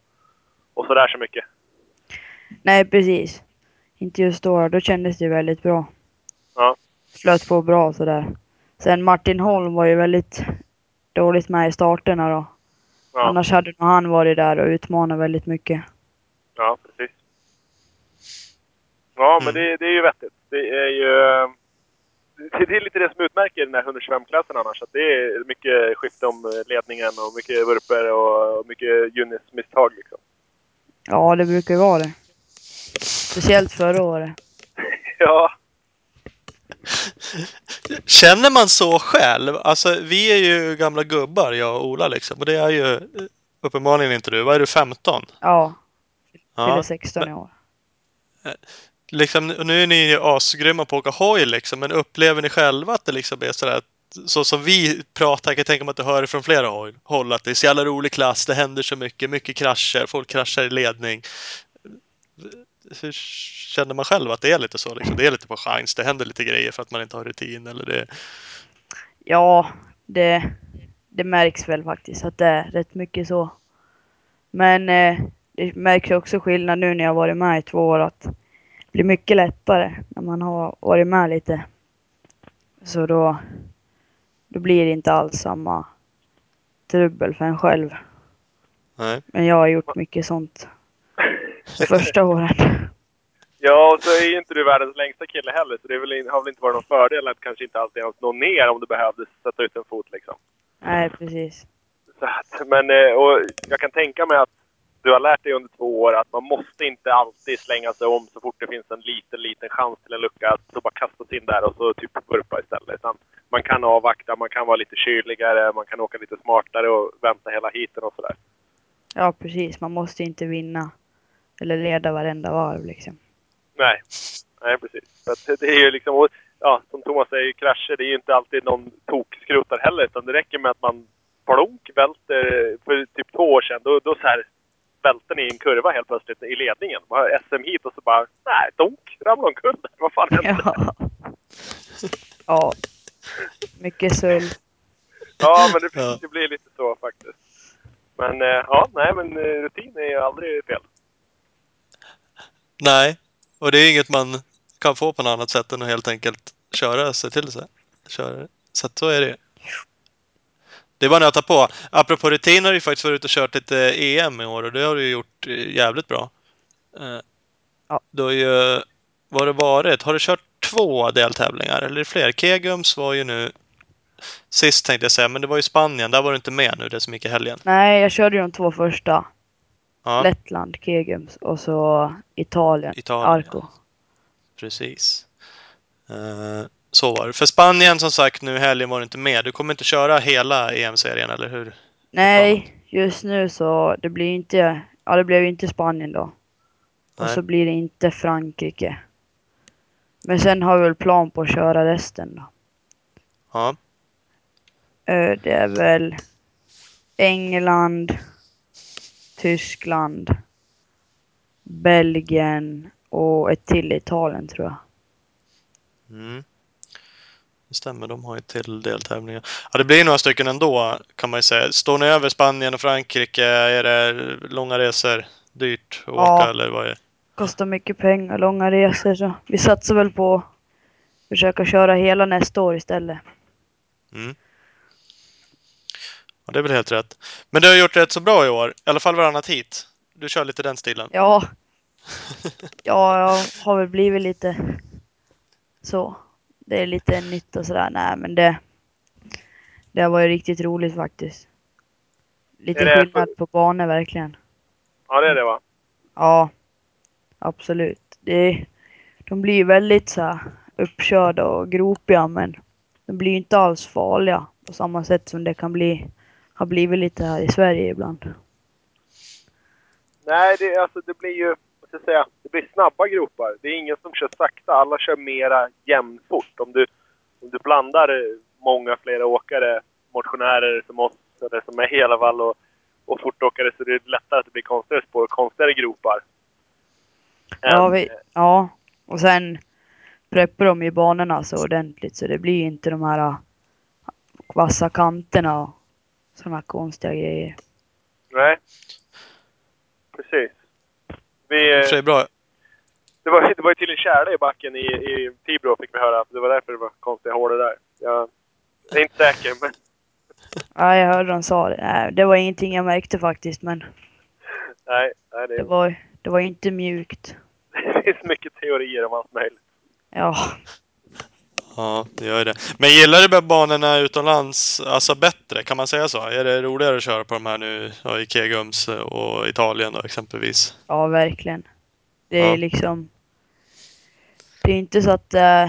S2: och sådär så mycket.
S4: Nej, precis. Inte just då. Då kändes det ju väldigt bra.
S2: Ja.
S4: Flöt på bra och sådär. Sen Martin Holm var ju väldigt dåligt med i starterna då.
S2: Ja,
S4: Annars hade nog han varit där och utmanat väldigt mycket.
S2: ja precis. Ja, men det, det är ju vettigt. Det är ju... eh, Det det är lite det som utmärker den här 125-klassen annars. Att det är mycket skift om eh, ledningen och mycket vurper och och mycket Junis-misstag liksom.
S4: Ja, det brukar ju vara det. Speciellt förra året.
S2: Ja,
S1: Känner man så själv? Alltså, vi är ju gamla gubbar, jag och Ola liksom. Och det är ju eh, uppenbarligen inte du. Vad är du, 15?
S4: Ja, fyller
S1: Ja.
S4: 16 i år.
S1: Liksom, nu är ni ju asgrymma på att åka hoj liksom, men upplever ni själva att det liksom är sådär att- så som vi pratar, jag kan tänka mig att du hör det från flera håll- håll, att det är så jävla rolig klass, det händer så mycket, mycket krascher, folk kraschar i ledning. Hur känner man själv att det är lite så? Liksom? Det är lite på chans, det händer lite grejer för att man inte har rutin eller det...
S4: Ja, det, det märks väl faktiskt att det är rätt mycket så. Men eh, det märks ju också skillnad nu när jag har varit med i två år att det blir mycket lättare när man har varit med lite. Så då, då blir det inte alls samma trubbel för en själv.
S1: Nej.
S4: Men jag har gjort mycket sånt första året.
S2: Ja, och så är ju inte du världens längsta kille heller, så det är väl, in- har väl inte varit någon fördel att kanske inte alltid ens nå ner om du behövde sätta ut en fot liksom.
S4: Nej, precis.
S2: Så att, men, eh, och jag kan tänka mig att du har lärt dig under två år att man måste inte alltid slänga sig om så fort det finns en liten, liten chans till en lucka. Att så bara kasta sig in där och så typ vurpa istället. Utan man kan avvakta, man kan vara lite kyligare, man kan åka lite smartare och vänta hela heaten och sådär.
S4: Ja, precis. Man måste inte vinna eller leda varenda varv liksom.
S2: Nej, nej precis. Så att det är ju liksom, och, ja, som Thomas säger, krascher det är ju inte alltid någon tokskrotar heller. Utan det räcker med att man plonk välter. För typ två år sedan, då, då så här välte ni i en kurva helt plötsligt i ledningen. Man har SM hit och så bara, nej, donk, ramlade omkull. Vad fan hände? Ja.
S4: Ja. ja. Mycket sull.
S2: men det, det blir lite så faktiskt. Men eh, ja, nej men eh, rutin är ju aldrig fel.
S1: Nej, och det är inget man kan få på något annat sätt än att helt enkelt köra sig till sig. Köra. Så att så är det ju. Det är bara nöta på. Apropå rutin har du ju faktiskt varit ute och kört lite EM i år och det har du ju gjort eh, jävligt bra. Eh,
S4: Ja.
S1: Du har ju... Vad har det varit? Har du kört två deltävlingar eller är det fler? Kegums var ju nu... Sist tänkte jag säga, men det var ju Spanien. Där var du inte med nu, det som gick i helgen.
S4: Nej, jag körde ju de två första.
S1: Ja,
S4: Lettland, Kegums och så Italien,
S1: Italien.
S4: Arco.
S1: Precis. Eh, så var det. För Spanien som sagt nu i helgen var du inte med. Du kommer inte köra hela EM-serien, eller hur?
S4: Nej, just nu så det blir inte, ja det blev ju inte Spanien då. Och
S1: Nej.
S4: så blir det inte Frankrike. Men sen har vi väl plan på att köra resten då.
S1: Ja.
S4: Eh, Det är väl England, Tyskland, Belgien och ett till i Italien tror jag.
S1: Mm. Det stämmer, de har ju till deltävlingar. Ja, det blir några stycken ändå kan man ju säga. Står ni över Spanien och Frankrike? Är det långa resor? Dyrt att
S4: Ja.
S1: åka eller vad är
S4: Kostar mycket pengar, långa resor så vi satsar väl på att försöka köra hela nästa år istället.
S1: ja, det? är väl helt rätt. Men du har gjort rätt så bra i år. I alla fall varannat hit. Du kör lite den stilen.
S4: Ja. Ja, jag har väl blivit lite så. Det är lite nytt och sådär. Nej, men det. Det var ju riktigt roligt faktiskt. Lite
S2: Är det-
S4: skillnad på banor verkligen.
S2: Ja, det är det va?
S4: Ja, absolut. Det, de blir ju väldigt så här uppkörda och gropiga, men de blir ju inte alls farliga på samma sätt som det kan bli. Har blivit lite här i Sverige ibland.
S2: Nej, det, alltså, det blir ju, vad ska jag säga, det blir snabba gropar. Det är ingen som kör sakta. Alla kör mera jämnfort. Om du, om du blandar eh, många flera åkare, motionärer som oss, eller som är Helavall och, och fortåkare, så det är lättare att det blir konstigare spår och konstigare gropar.
S4: Ja,
S2: Än,
S4: vi,
S2: eh,
S4: ja, och sen preppar de ju banorna så ordentligt så det blir ju inte de här ah, vassa kanterna och sådana konstiga grejer.
S2: Nej. Precis. Vi,
S1: I
S2: eh,
S1: och för sig bra.
S2: Det var, det var ju till en kärle i backen i, i Tibro fick vi höra. Det var därför det var konstiga hålor där. Jag är inte säker, men
S4: Ja, jag hörde de sa det. Nej, det var ingenting jag märkte faktiskt men
S2: nej. nej det,
S4: det var, det var inte mjukt.
S2: det finns mycket teorier om allt möjligt.
S4: Ja,
S1: Ja, det gör ju det. Men gillar du banorna utomlands alltså bättre? Kan man säga så? Är det roligare att köra på de här nu ja, i Kegums och Italien då, exempelvis?
S4: ja verkligen. Det
S1: Ja.
S4: är liksom... Det är inte så att det är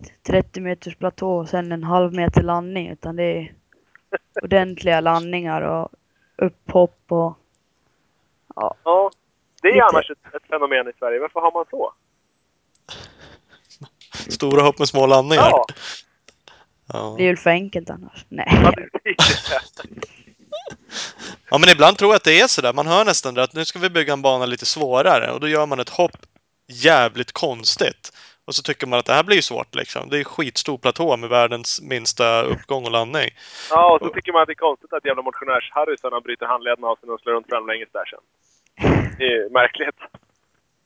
S4: ett 30 meters platå och sen en halv meter landning utan det är ordentliga landningar och upphopp och
S2: Ja, det är
S4: Lite.
S2: annars ett, ett fenomen i Sverige. Varför har man så?
S1: Stora hopp med små landningar?
S2: Ja,
S1: Ja.
S4: Det är väl för enkelt annars. Nej.
S2: ja precis.
S1: Ja, men ibland tror jag att det är sådär. Man hör nästan det att nu ska vi bygga en bana lite svårare och då gör man ett hopp jävligt konstigt. Och så tycker man att det här blir ju svårt liksom. Det är skitstor platå med världens minsta uppgång och landning.
S2: Ja, och så tycker man att det är konstigt att jävla motionärs-Harrysarna bryter handlederna av sig när de slår runt framlänges där sen. Det är ju märkligt.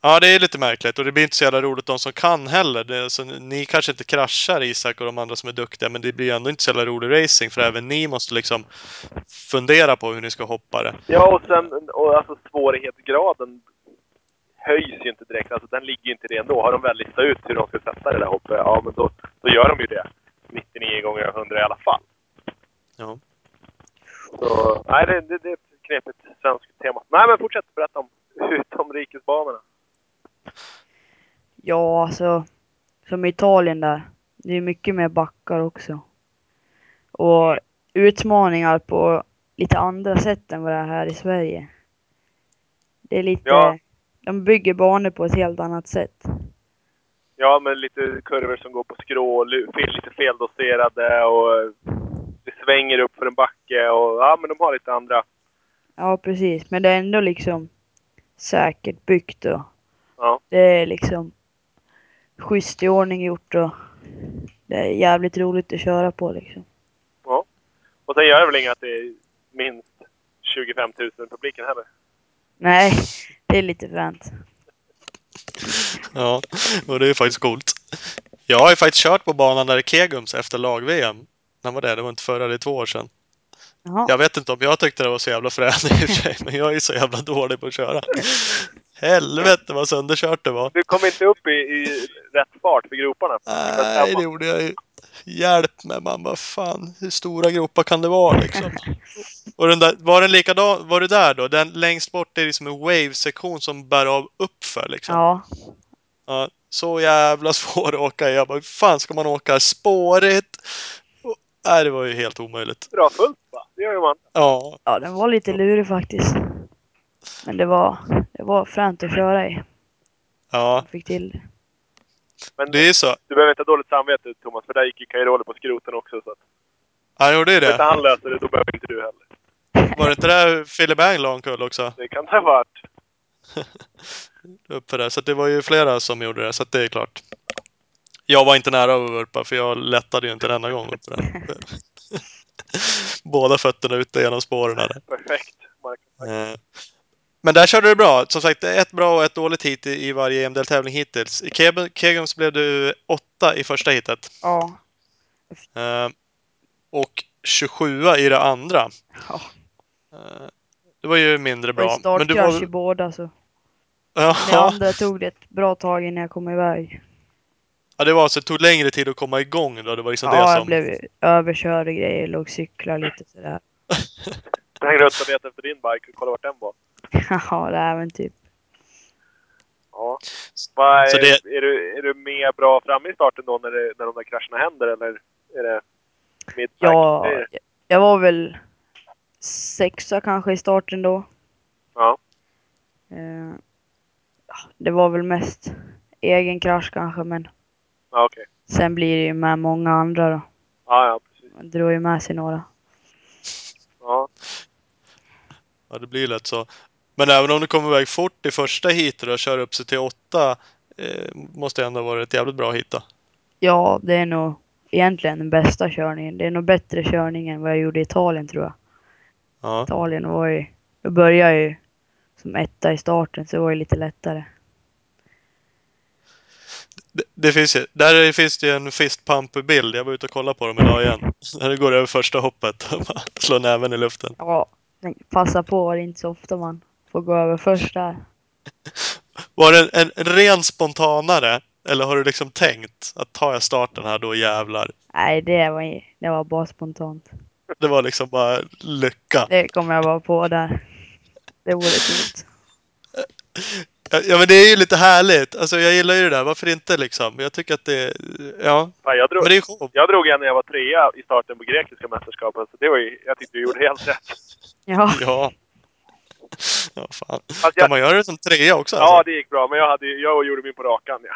S1: Ja, det är lite märkligt och det blir inte så jävla roligt de som kan heller. Det, är alltså, ni kanske inte kraschar Isak och de andra som är duktiga, men det blir ju ändå inte så jävla rolig racing för även ni måste liksom fundera på hur ni ska hoppa det.
S2: Ja, och sen och alltså, svårighetsgraden höjs ju inte direkt. Alltså, den ligger ju inte i det ändå. Har de väl listat ut hur de ska sätta det där hoppet, ja men då, då gör de ju det. 99 gånger av 100 i alla fall.
S1: Ja.
S2: Så, nej, det, det, det är ett knepigt svenskt tema. Nej, men fortsätt berätta om utomrikesbanorna.
S4: Ja, alltså. Som i Italien där. Det är mycket mer backar också. Och utmaningar på lite andra sätt än vad det är här i Sverige. Det är lite...
S2: Ja.
S4: De bygger banor på ett helt annat sätt.
S2: Ja, men lite kurvor som går på skrå, lu- fel, lite feldoserade och eh, det svänger upp för en backe och ja, men de har lite andra.
S4: Ja, precis. Men det är ändå liksom säkert byggt och
S2: Ja.
S4: det är liksom schysst i ordning gjort och det är jävligt roligt att köra på liksom.
S2: Och sen gör det väl inget att det är minst 25 000 i publiken heller.
S4: Nej, det är lite fränt.
S1: Ja, och det är faktiskt coolt. Jag har ju faktiskt kört på banan där i Kegums efter lag-VM. När var det? Det var inte förra, det är två år sedan.
S4: Jaha.
S1: Jag vet inte om jag tyckte det var så jävla frän i och för sig, men jag är ju så jävla dålig på att köra. Helvete vad sönderkört det var.
S2: Du kom inte upp i, i rätt fart för groparna.
S1: Nej, det gjorde jag ju. Hjälp mig, man vad fan, hur stora gropar kan det vara liksom? Och den där, var den likadan, var du där då? Den längst bort är liksom en wave-sektion som bär av uppför liksom.
S4: Ja,
S1: Ja, så jävla svår att åka i. Jag bara, hur fan ska man åka spårigt? Och, nej, det var ju helt omöjligt.
S2: Bra fullt va? Det gör ju man.
S1: Ja,
S4: ja den var lite lurig faktiskt. Men det var, det var fränt att köra i.
S1: ja.
S4: Jag fick till det.
S2: Men
S1: Det är ju så.
S2: du behöver inte ha dåligt samvete Thomas, för där gick ju Cairoli på skroten också. Så att,
S1: Han gjorde ju
S2: om inte
S1: det.
S2: han löser det, då behöver inte du heller.
S1: Var det inte där Philip Bang la omkull också?
S2: Det kan det ha varit.
S1: Upp för det. Så att det var ju flera som gjorde det, så att det är klart. Jag var inte nära att vurpa, för jag lättade ju inte en enda gång upp för den. Båda fötterna ute genom spåren. Där.
S2: Perfekt. Marcus.
S1: Eh, Men där körde du bra. Som sagt, ett bra och ett dåligt hit i i varje EM-deltävling hittills. I Keb- Kegums blev du åtta i första hitet.
S4: Ja.
S1: eh, Och 27 i det andra.
S4: Ja.
S1: Eh, Det var ju mindre
S4: Det var
S1: bra.
S4: ju
S1: Men du
S4: startkrasch i
S1: var...
S4: båda så. Det
S1: Ja,
S4: andra tog det ett bra tag innan jag kom iväg.
S1: ja, det var alltså, det tog längre tid att komma igång då. Det var liksom
S4: Ja,
S1: det
S4: jag
S1: som...
S4: blev överkörd och grejer. Låg och cyklade lite sådär.
S2: Jag hängde ut och letade efter din bike och kollade vart den var.
S4: Ja, det är men typ.
S2: Ja. Vad är,
S1: Så det-
S2: är, du, är du med bra framme i starten då när, det, när de där krascherna händer eller är det mitt
S4: Ja,
S2: back? Det är-
S4: jag var väl sexa kanske i starten då.
S2: Ja.
S4: Eh, ja, Det var väl mest egen krasch kanske, men
S2: ja okej.
S4: sen blir det ju med många andra då.
S2: Ja, ja, precis.
S4: Man drog ju med sig några.
S2: Ja.
S1: Ja, det blir lätt så. Men även om du kommer iväg fort i första heatet och kör upp sig till åtta, eh, måste det ändå vara ett jävligt bra hit då.
S4: Ja, det är nog egentligen den bästa körningen. Det är nog bättre körning än vad jag gjorde i Italien tror jag.
S1: Ja.
S4: Italien var ju, då började jag ju som etta i starten så det var ju lite lättare.
S1: Det, det finns ju, där finns det ju en fistpump-bild. Jag var ute och kollade på dem idag igen. När det går över första hoppet och bara slår näven i luften.
S4: Ja, men passa på, det är inte så ofta man får gå över först där.
S1: Var det en, en ren spontanare? Eller har du liksom tänkt att tar jag starten här då jävlar.
S4: Nej, det var, det var bara spontant.
S1: Det var liksom bara lycka.
S4: Det kommer jag bara på där. Det vore fint.
S1: Ja ja, men det är ju lite härligt. Alltså jag gillar ju det där. Varför inte liksom? Jag tycker att det... Ja.
S2: Fan, jag, drog,
S1: Men det är ju show.
S2: jag drog en när jag var trea i starten på grekiska mästerskapen så det var ju, jag tyckte du gjorde helt rätt.
S4: Ja,
S1: Ja. Ja, fan.
S2: Fast
S1: Kan
S2: jag,
S1: man göra det som trea också?
S2: ja,
S1: alltså?
S2: det gick bra men jag, hade, ju- jag gjorde min på rakan ja.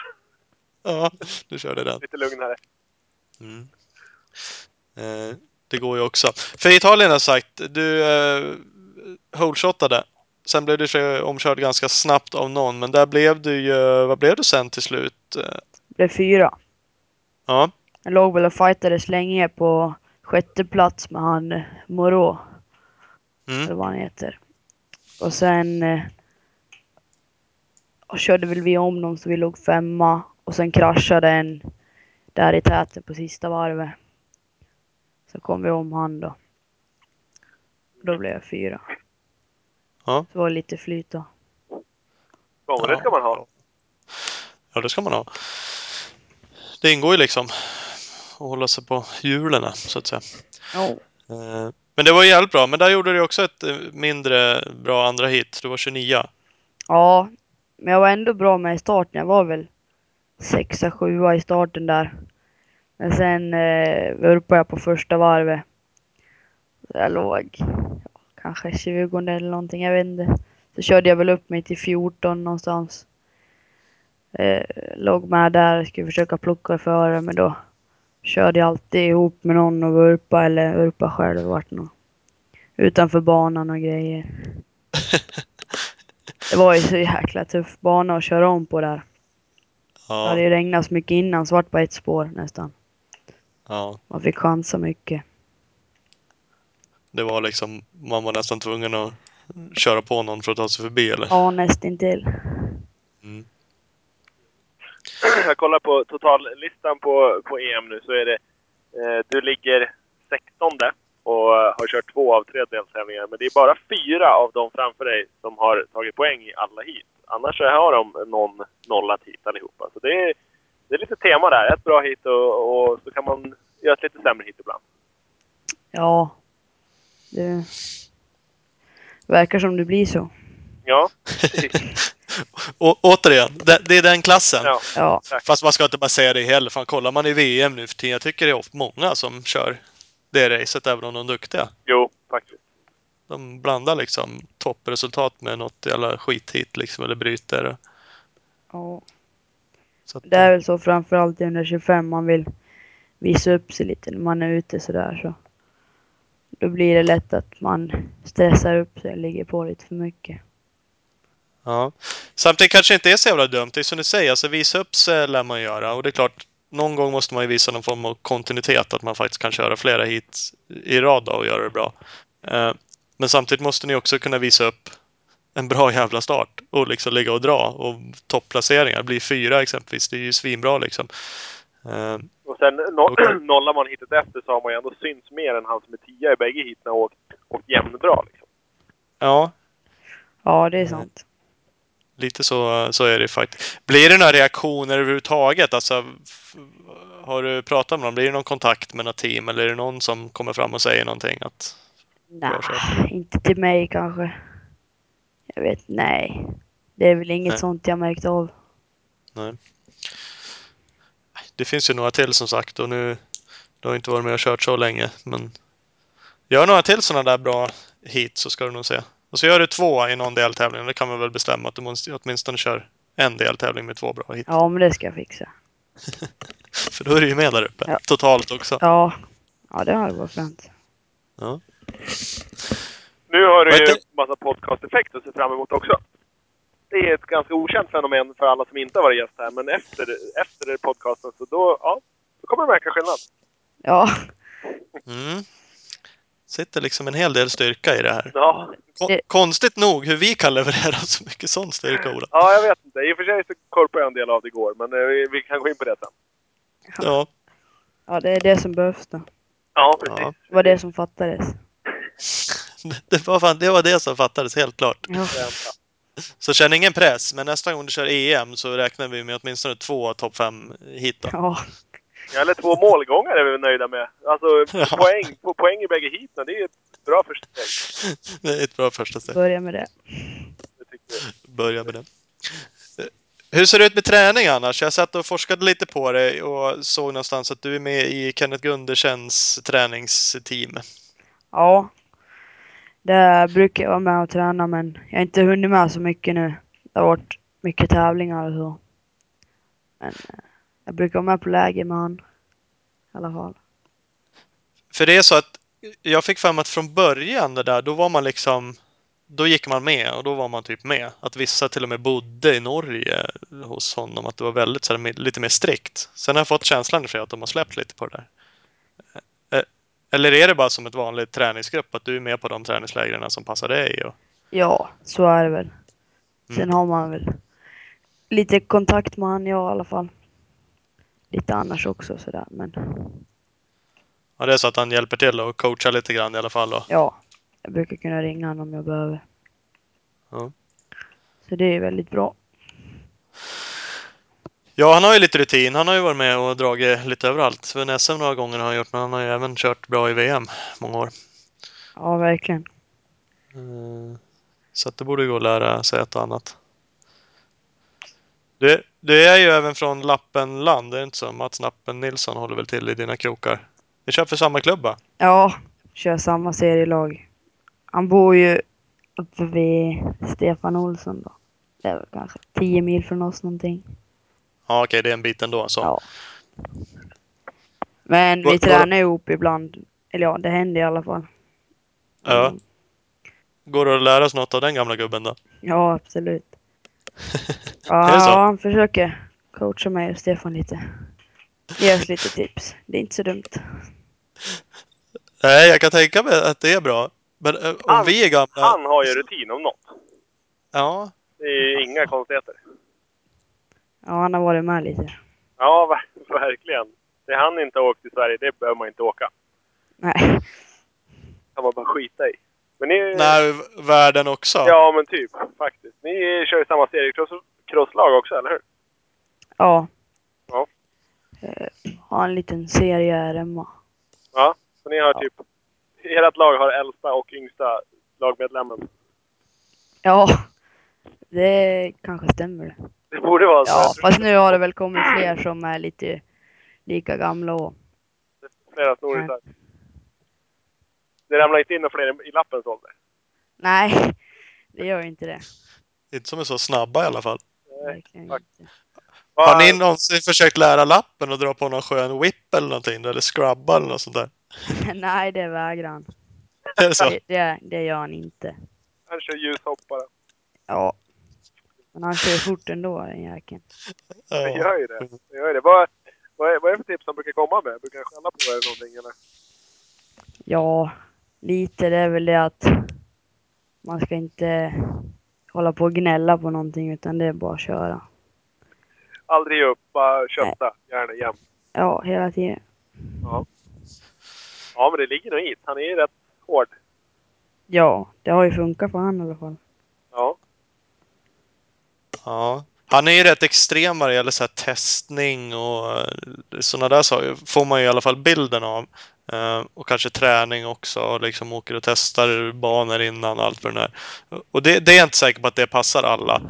S1: ja. Du körde den.
S2: Lite lugnare.
S1: Mm. Eh, det går ju också. För Italien har sagt, du eh, holeshotade. Sen blev du kö- omkörd ganska snabbt av någon, men där blev du ju... Vad blev du sen till slut? Eh,
S4: blev fyra.
S1: Ja,
S4: Jag låg väl och fightades länge på sjätte plats med han eh, Moreau, eller
S1: mm.
S4: vad han heter. Och sen eh, och körde väl vi om dem så vi låg femma och sen kraschade en där i täten på sista varvet. Så kom vi om han då. Då blev jag fyra.
S1: Ja.
S4: Så var det lite flyt då.
S2: Ja, men det ska man ha.
S1: ja, det ska man ha. Det ingår ju liksom att hålla sig på hjulen, så att säga.
S4: Ja.
S1: Eh, Men det var jävligt bra. Men där gjorde du också ett eh, mindre bra andra hit. Du var 29.
S4: Ja, men jag var ändå bra med i starten. Jag var väl sexa, sjua i starten där. Men sen eh, vurpade jag på första varvet. Så Jag låg ja, kanske 20 eller någonting, jag vet inte. Så körde jag väl upp mig till 14 någonstans. Eh, låg med där, skulle försöka plocka före men då körde jag alltid ihop med någon och vurpa eller vurpa själv. Det Vart någon. Utanför banan och grejer. Det var ju så jäkla tuff bana att köra om på där. Det
S1: Ja.
S4: hade ju regnat så mycket innan så vart bara ett spår nästan.
S1: ja.
S4: Man fick chansa mycket.
S1: Det var liksom, man var nästan tvungen att köra på någon för att ta sig förbi eller?
S4: Ja, nästintill.
S2: Jag kollar på totallistan på, på EM nu så är det... Eh, du ligger 16 och eh, har kört två av tre deltävlingar. Men det är bara fyra av dem framför dig som har tagit poäng i alla hit. Annars så har de någon nollat hit allihopa. Så det är, det är lite tema där. Ett bra hit och, och så kan man göra ett lite sämre hit ibland.
S4: Ja. Det verkar som det blir så.
S2: Ja,
S1: Å- återigen, det, det är den klassen.
S2: ja.
S4: Ja,
S1: Fast man ska inte bara säga det heller. Fan, kollar man i VM nu för tiden. Jag tycker det är ofta många som kör det racet även om de är duktiga.
S2: jo faktiskt.
S1: De blandar liksom toppresultat med något jävla skithit liksom eller bryter.
S4: ja.
S1: Så att,
S4: Det är väl så framförallt i 125 man vill visa upp sig lite när man är ute sådär så. Då blir det lätt att man stressar upp sig och ligger på lite för mycket.
S1: Ja. Samtidigt kanske det inte är så jävla dumt. Det är som du säger, alltså visa upp sig lär man göra. Och det är klart, någon gång måste man ju visa någon form av kontinuitet. Att man faktiskt kan köra flera hit i rad då och göra det bra. Eh, Men samtidigt måste ni också kunna visa upp en bra jävla start och liksom ligga och dra och topplaceringar. Bli fyra exempelvis, det är ju svinbra liksom. Eh,
S2: Och sen no-
S1: Okej.
S2: nollar man hitet efter så har man ju ändå synts mer än han som är tia i bägge hiten och åkt, åkt jämnbra. Liksom.
S1: Ja,
S4: Ja, det är sant.
S1: lite så, så är det faktiskt. Blir det några reaktioner överhuvudtaget? Alltså, f- har du pratat med någon? Blir det någon kontakt med något team? Eller är det någon som kommer fram och säger någonting? Att,
S4: Nej,
S1: Bra kört.
S4: inte till mig kanske. Jag vet, nej. Det är väl inget
S1: Nej.
S4: sånt jag märkt av.
S1: det finns ju några till som sagt och nu du har ju inte varit med och kört så länge. Men gör några till sådana där bra hit så ska du nog se. Och så gör du två i någon deltävling. Det kan man väl bestämma att du måste, åtminstone kör en deltävling med två bra hit.
S4: Ja, men det ska jag fixa.
S1: För då är du ju med där uppe
S4: Ja.
S1: totalt också.
S4: Ja, ja det hade varit skönt.
S2: Nu har du
S1: Vad
S2: ju
S1: heter-
S2: massa podcast-effekt att se fram emot också. Det är ett ganska okänt fenomen för alla som inte har varit gäst här, men efter, efter podcasten så då, ja, då kommer det märka skillnad.
S4: Ja,
S1: Mm. Sitter liksom en hel del styrka i det här.
S2: Ja,
S1: Ko-
S4: Det-
S1: Konstigt nog hur vi kan leverera så mycket sån styrka, Ola.
S2: ja jag vet inte. I och för sig så korpade jag en del av det igår, men eh, vi, vi kan gå in på det sen.
S1: Ja.
S4: ja det är det som behövs då.
S2: Ja,
S1: ja.
S2: precis.
S4: Det var det som fattades.
S1: Det, var fan, det var det som fattades, helt klart.
S4: Ja,
S1: Så känn ingen press, men nästa gång du kör EM så räknar vi med åtminstone två topp fem hit då.
S4: ja,
S2: Ja, eller två målgångar är vi nöjda med. Alltså
S1: Ja.
S2: poäng, på poäng i bägge heaten, det är ett bra första steg.
S1: Det är ett bra första steg.
S4: börja med det.
S2: Det tycker jag.
S1: Börja med det. Eh, Hur ser det ut med träning annars? Jag satt och forskade lite på dig och såg någonstans att du är med i Kenneth Gundersens träningsteam.
S4: Ja, där brukar jag vara med och träna men jag har inte hunnit med så mycket nu. Det har varit mycket tävlingar och så. Men eh, jag brukar vara med på läger med han. I alla fall.
S1: För det är så att jag fick fram att från början det där, då var man liksom då gick man med och då var man typ med. Att vissa till och med bodde i Norge hos honom. Att det var väldigt så här, med- lite mer strikt. Sen har jag fått känslan för att de har släppt lite på det där. Eh, Eller är det bara som ett vanligt träningsgrupp? Att du är med på de träningslägren som passar dig? Och...
S4: Ja, så är det väl. Sen
S1: Mm.
S4: har man väl lite kontakt med han, jag i alla fall. Lite annars också sådär men
S1: Ja, det är så att han hjälper till och coachar lite grann i alla fall. Då.
S4: ja. Jag brukar kunna ringa honom om jag behöver.
S1: Ja.
S4: Så det är väldigt bra.
S1: Ja, han har ju lite rutin. Han har ju varit med och dragit lite överallt. För SM några gånger har han gjort, men han har ju även kört bra i VM många år.
S4: Ja, verkligen.
S1: Eh, Så att det borde gå att lära sig ett och annat. Du, du är ju även från Lappenland, är det inte så? Mats Nappen Nilsson håller väl till i dina krokar? Ni kör för samma klubba?
S4: Ja, kör samma serielag. Han bor ju uppe vid Stefan Olsson då. Det är väl kanske 10 mil från oss någonting.
S1: Ja, okej, det är en bit ändå. Så.
S4: Ja. Men
S1: Var-
S4: vi
S1: var-
S4: tränar ihop ibland. Eller ja, det händer i alla fall.
S1: Ja. Går det att lära sig något av den gamla gubben då?
S4: Ja, absolut.
S1: Är det så?
S4: Ja, han försöker coacha mig och Stefan lite. Ge oss lite tips. Det är inte så dumt.
S1: Nej, jag kan tänka mig att det är bra. Men eh, om
S2: Han-
S1: vi är gamla...
S2: Han har ju rutin om något.
S1: Ja,
S2: Det är inga konstigheter.
S4: Ja, han har varit med lite.
S2: Ja, ver- verkligen. Det han inte har åkt i Sverige, det behöver man inte åka.
S4: Nej.
S2: kan man bara skita i. Men ni...
S1: när världen också.
S2: Ja, men typ. Faktiskt. Ni kör ju samma seriecrosslag också, eller hur?
S4: Ja.
S2: Ja.
S4: Eh, Har en liten serie här hemma.
S2: Ja. Så ni har
S4: Ja.
S2: typ... Ert lag har äldsta och yngsta lagmedlemmen.
S4: Ja. Det kanske stämmer. det.
S2: Det borde vara så.
S4: Ja,
S2: Jag tror
S4: fast nu har det väl kommit fler som är lite lika gamla och...
S2: Flera snorisar. Det ramlar inte in några fler i lappens ålder.
S4: Nej, det gör inte det.
S1: Inte som är så snabba i alla fall.
S4: Verkligen
S2: tack.
S4: inte.
S1: Har ni
S2: Vad-
S1: någonsin försökt lära lappen och dra på någon skön whip eller någonting? då? Eller scrubba eller något sånt där?
S4: Nej, det vägrar han.
S1: Är det så?
S4: Det, det, det gör han inte.
S2: Han kör ljushoppare.
S4: Ja. Men han kör fort ändå, den jäkeln.
S2: Det
S1: Ja.
S2: gör ju det. det, gör ju det. Vad, vad, är, vad är det för tips han brukar komma med? Brukar han skälla på er eller någonting? Eller?
S4: Ja, lite det är väl det att man ska inte hålla på och gnälla på någonting utan det är bara att köra.
S2: Aldrig ge upp, bara kötta. Gärna jämt.
S4: Ja, hela tiden.
S2: Ja. ja, men det ligger nog i. Han är ju rätt hård.
S4: Ja, det har ju funkat för han i alla fall.
S2: Ja.
S1: Ja. Han är ju rätt extrem vad det gäller så här testning och sådana där saker. Får man ju i alla fall bilden av. Eh, Och kanske träning också. Och liksom åker och testar banor innan och allt för den där. Och det, det är jag inte säker på att det passar alla.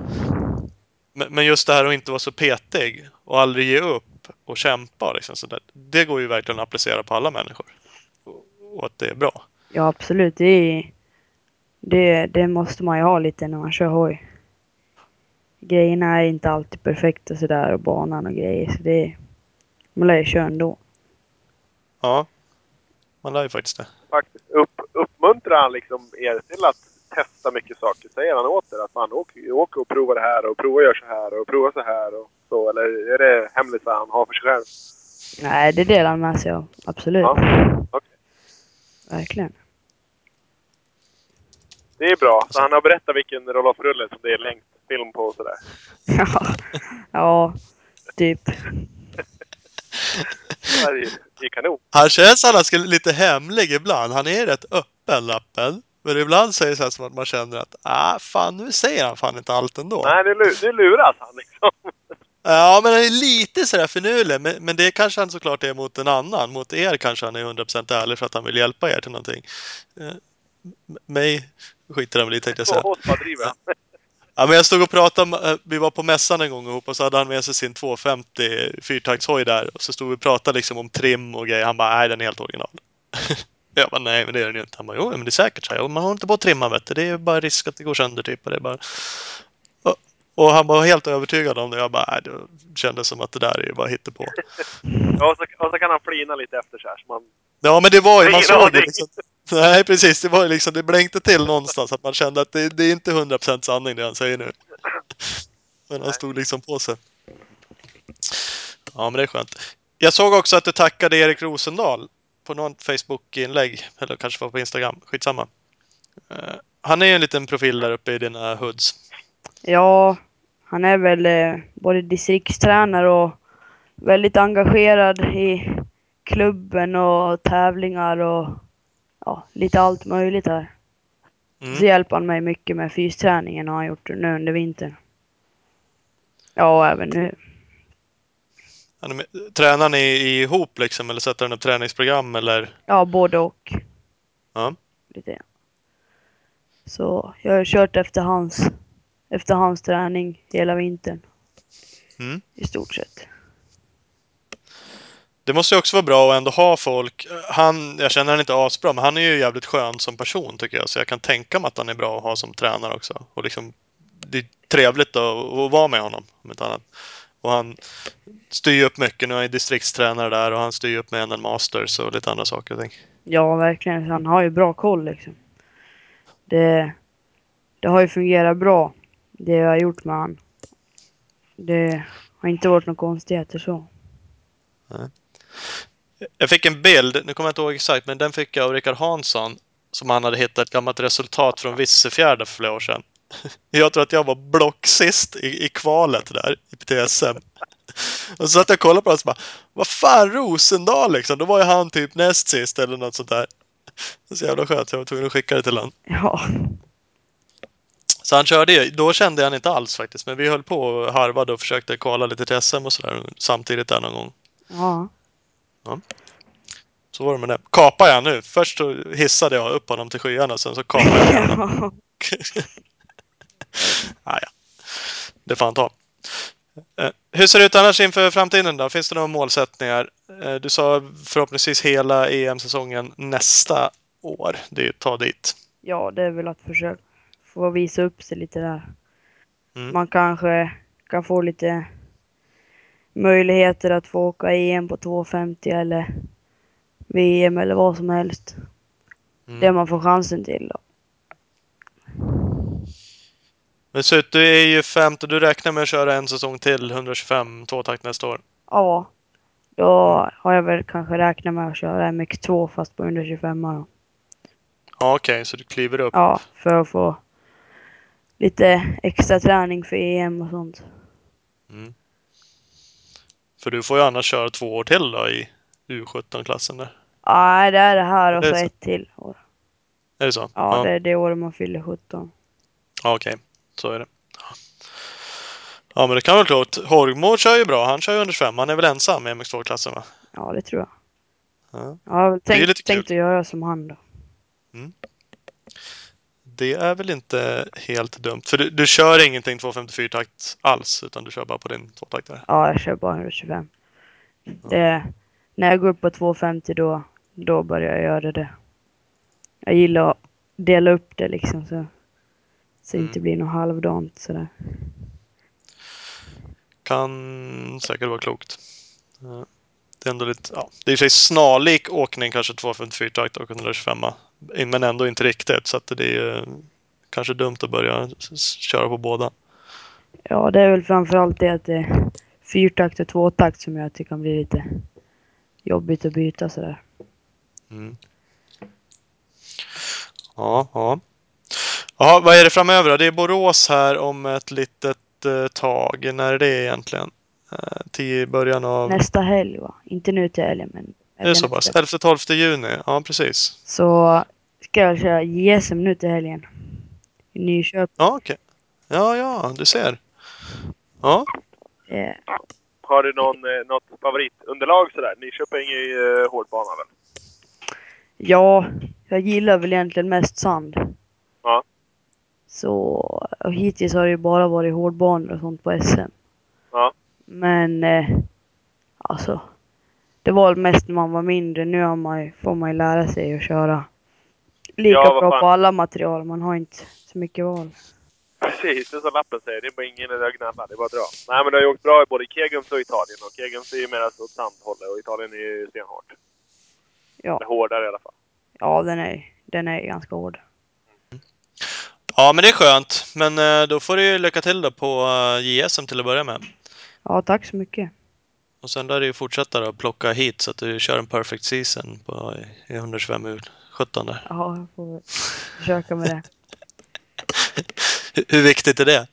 S1: Men, men just det här att inte vara så petig och aldrig ge upp och kämpa. Liksom, så där, det går ju verkligen att applicera på alla människor. Och- Och att det är bra.
S4: Ja, absolut. Det, är, det, det måste man ju ha lite när man kör hoj. Grejerna är inte alltid perfekta sådär och banan och grejer så det... Man lär ju köra ändå.
S1: Ja, man lär ju faktiskt det.
S2: faktiskt. Upp, uppmuntrar han liksom er till att testa mycket saker? Säger han åt er att man åker, åker och provar det här och provar och gör så här och provar så här och så? Eller är det hemlisar han har för sig själv?
S4: Nej, det delar han med sig av. Absolut.
S2: Ja. Okej.
S4: Verkligen.
S2: Det är bra. Så han har berättat vilken roll-off-rulle som det är längst film på och sådär.
S4: Ja, ja typ.
S2: Det är ju det är kanon.
S1: Han känns annars lite hemlig ibland. Han är rätt öppen, lappen. Men ibland säger det så här som att man känner att ah, fan, nu säger han fan inte allt ändå.
S2: Nej, nu, lu- nu luras han liksom.
S1: Ja, men han är lite sådär finurlig. Men, men det kanske han såklart är mot en annan. Mot er kanske han är 100% ärlig för att han vill hjälpa er till någonting. Eh, m- mig skiter han väl i tänkte jag
S2: Så
S1: säga.
S2: hårt bara driver han.
S1: Ja, men jag stod och pratade, om- eh, vi var på mässan en gång ihop och så hade han med sig sin 250 fyrtaktshoj där. Och så stod vi och pratade liksom om trim och grejer. Han bara, nej den är helt original. jag bara, nej men det är den ju inte. Han bara, jo men det är säkert. Så här, man har inte på att trimma vet du. Det är bara risk att det går sönder typ. Och, det är bara... och, och han var helt övertygad om det. Jag bara, nej det kändes som att det där är ju bara hittepå.
S2: Ja, och, så, och så kan han flina lite efter så här. Så man,
S1: Ja men det var ju, man
S2: Ingen
S1: såg det
S2: aning.
S1: liksom. Nej precis, det var ju liksom, det blänkte till någonstans att man kände att det, det är inte 100% sanning det han säger nu. Men han stod liksom på sig. Ja men det är skönt. Jag såg också att du tackade Erik Rosendahl på något Facebook-inlägg, eller kanske var på Instagram, skitsamma. Eh, han är ju en liten profil där uppe i dina hoods.
S4: Ja, han är väl eh, både distriktstränare och väldigt engagerad i klubben och tävlingar och ja, lite allt möjligt här.
S1: Mm.
S4: Så hjälper han mig mycket med fysträningen har han gjort nu under vintern. Ja, och även nu.
S1: Han är med, tränar ni ihop liksom, eller sätter han upp träningsprogram eller?
S4: Ja, både och.
S1: Ja.
S4: lite grann. Så jag har ju kört efter hans, efter hans träning hela vintern
S1: Mm.
S4: i stort sett.
S1: Det måste ju också vara bra att ändå ha folk. Han, jag känner han inte asbra, men han är ju jävligt skön som person tycker jag. Så jag kan tänka mig att han är bra att ha som tränare också. Och liksom, det är trevligt att, att vara med honom, om inte annat. Och han styr ju upp mycket. Nu är han distriktstränare där och han styr ju upp med en Masters och lite andra saker och ting.
S4: Ja, verkligen. Han har ju bra koll liksom. Det, det har ju fungerat bra, det jag har gjort med han. Det har inte varit några konstigheter så.
S1: Jag fick en bild, nu kommer jag inte ihåg exakt, men den fick jag av Rickard Hansson som han hade hittat ett gammalt resultat från Vissefjärda för flera år sedan. Jag tror att jag var blocksist i, i kvalet där i PTSM. Och så satt jag och kollade på det och så bara, vad fan Rosendal liksom, då var ju han typ näst sist eller något sånt där. Det är så jävla skönt, jag var tvungen att skicka det till honom.
S4: Ja,
S1: Så han körde ju, då kände jag han inte alls faktiskt, men vi höll på och harvade och försökte kvala lite till SM och sådär samtidigt där någon gång.
S4: ja.
S1: Så var det med det. Kapar jag nu? Först så hissade jag upp honom till skyarna, sen så kapade jag honom. ah, ja. Det får han ta. Eh, Hur ser det ut annars inför framtiden då? Finns det några målsättningar? Eh, Du sa förhoppningsvis hela EM-säsongen nästa år. Det är ju att ta dit.
S4: Ja, det är väl att försöka få visa upp sig lite där.
S1: Mm.
S4: Man kanske kan få lite möjligheter att få åka EM på 250 eller VM eller vad som helst.
S1: Mm.
S4: Det man får chansen till då.
S1: Men så att du är ju femte. Du räknar med att köra en säsong till, 125 tvåtakt nästa år.
S4: Ja, då har jag väl kanske räknat med att köra MX2 fast på 125 då.
S1: Ja, okej, så du kliver upp.
S4: Ja, för att få lite extra träning för EM och sånt.
S1: För du får ju annars köra två år till då i U17-klassen där.
S4: Nej, det är det här och
S1: Det är
S4: så
S1: så.
S4: ett till år.
S1: Är det så?
S4: Ja, det är det året man fyller 17.
S1: Ja, okej. Så är det. Ja, men det kan vara klart. Horgmo kör ju bra. Han kör ju under 25. Han är väl ensam i MX2-klassen, va?
S4: Ja, det tror jag.
S1: Ja.
S4: Jag har väl
S1: är ju
S4: tänkt,
S1: lite kul.
S4: tänkt att göra som han då.
S1: Det är väl inte helt dumt. För du, du kör ingenting 254-takt alls, utan du kör bara på din tvåtaktare.
S4: Ja, jag kör bara 125. Det, när jag går upp på 250 då, då börjar jag göra det. Jag gillar att dela upp det liksom så, så det
S1: Mm.
S4: inte blir något halvdant sådär.
S1: Kan säkert vara klokt. Ja. Det är ändå lite, ja, det är i och för sig snarlik åkning kanske 254-takt och 125 men ändå inte riktigt. Så att det är ju kanske dumt att börja s- s- köra på båda.
S4: Ja, det är väl framförallt det att det är fyrtakt och tvåtakt som gör att det kan bli lite jobbigt att byta sådär.
S1: Ja, ja. Jaha, vad är det framöver då? Det är Borås här om ett litet eh, tag. När är det egentligen? Eh, till i början av...
S4: Nästa helg va? Inte nu till helgen men...
S1: är det så pass? 11-12 juni? Ja, precis.
S4: Så ska jag köra JSM nu till helgen. I Nyköping.
S1: Ja, okej. Ja, ja, du ser. Ja,
S4: Eh,
S2: Har du någon, eh, något favoritunderlag sådär? Nyköping är ju eh, hårdbana väl?
S4: Ja, jag gillar väl egentligen mest sand.
S2: Ja.
S4: Så, och hittills har det ju bara varit hårdbanor och sånt på SM.
S2: Ja.
S4: Men, eh, alltså. Det var väl mest när man var mindre. Nu har man, ju- får man ju lära sig att köra lika
S2: Ja, vad
S4: bra
S2: fan.
S4: på alla material. Man har inte så mycket val.
S2: Precis, det är som lappen säger. Det är bara ingen idé att gnälla. Det är bara att dra. Nej, men det har ju åkt bra i både Kegums och Italien. Och Kegums är ju mer åt sandhållet och Italien är ju stenhårt.
S4: Ja.
S2: Eller Hårdare i alla fall.
S4: Ja, den är, den är ganska hård.
S1: ja men det är skönt. Men eh, då får du ju lycka till då på eh, JSM till att börja med.
S4: Ja, tack så mycket.
S1: Och sen lär du ju fortsätta då, plocka hit så att du kör en perfect season på, eh, i 125 ur 17 där.
S4: Ja, jag får väl försöka med det.
S1: Hur- Hur viktigt är det?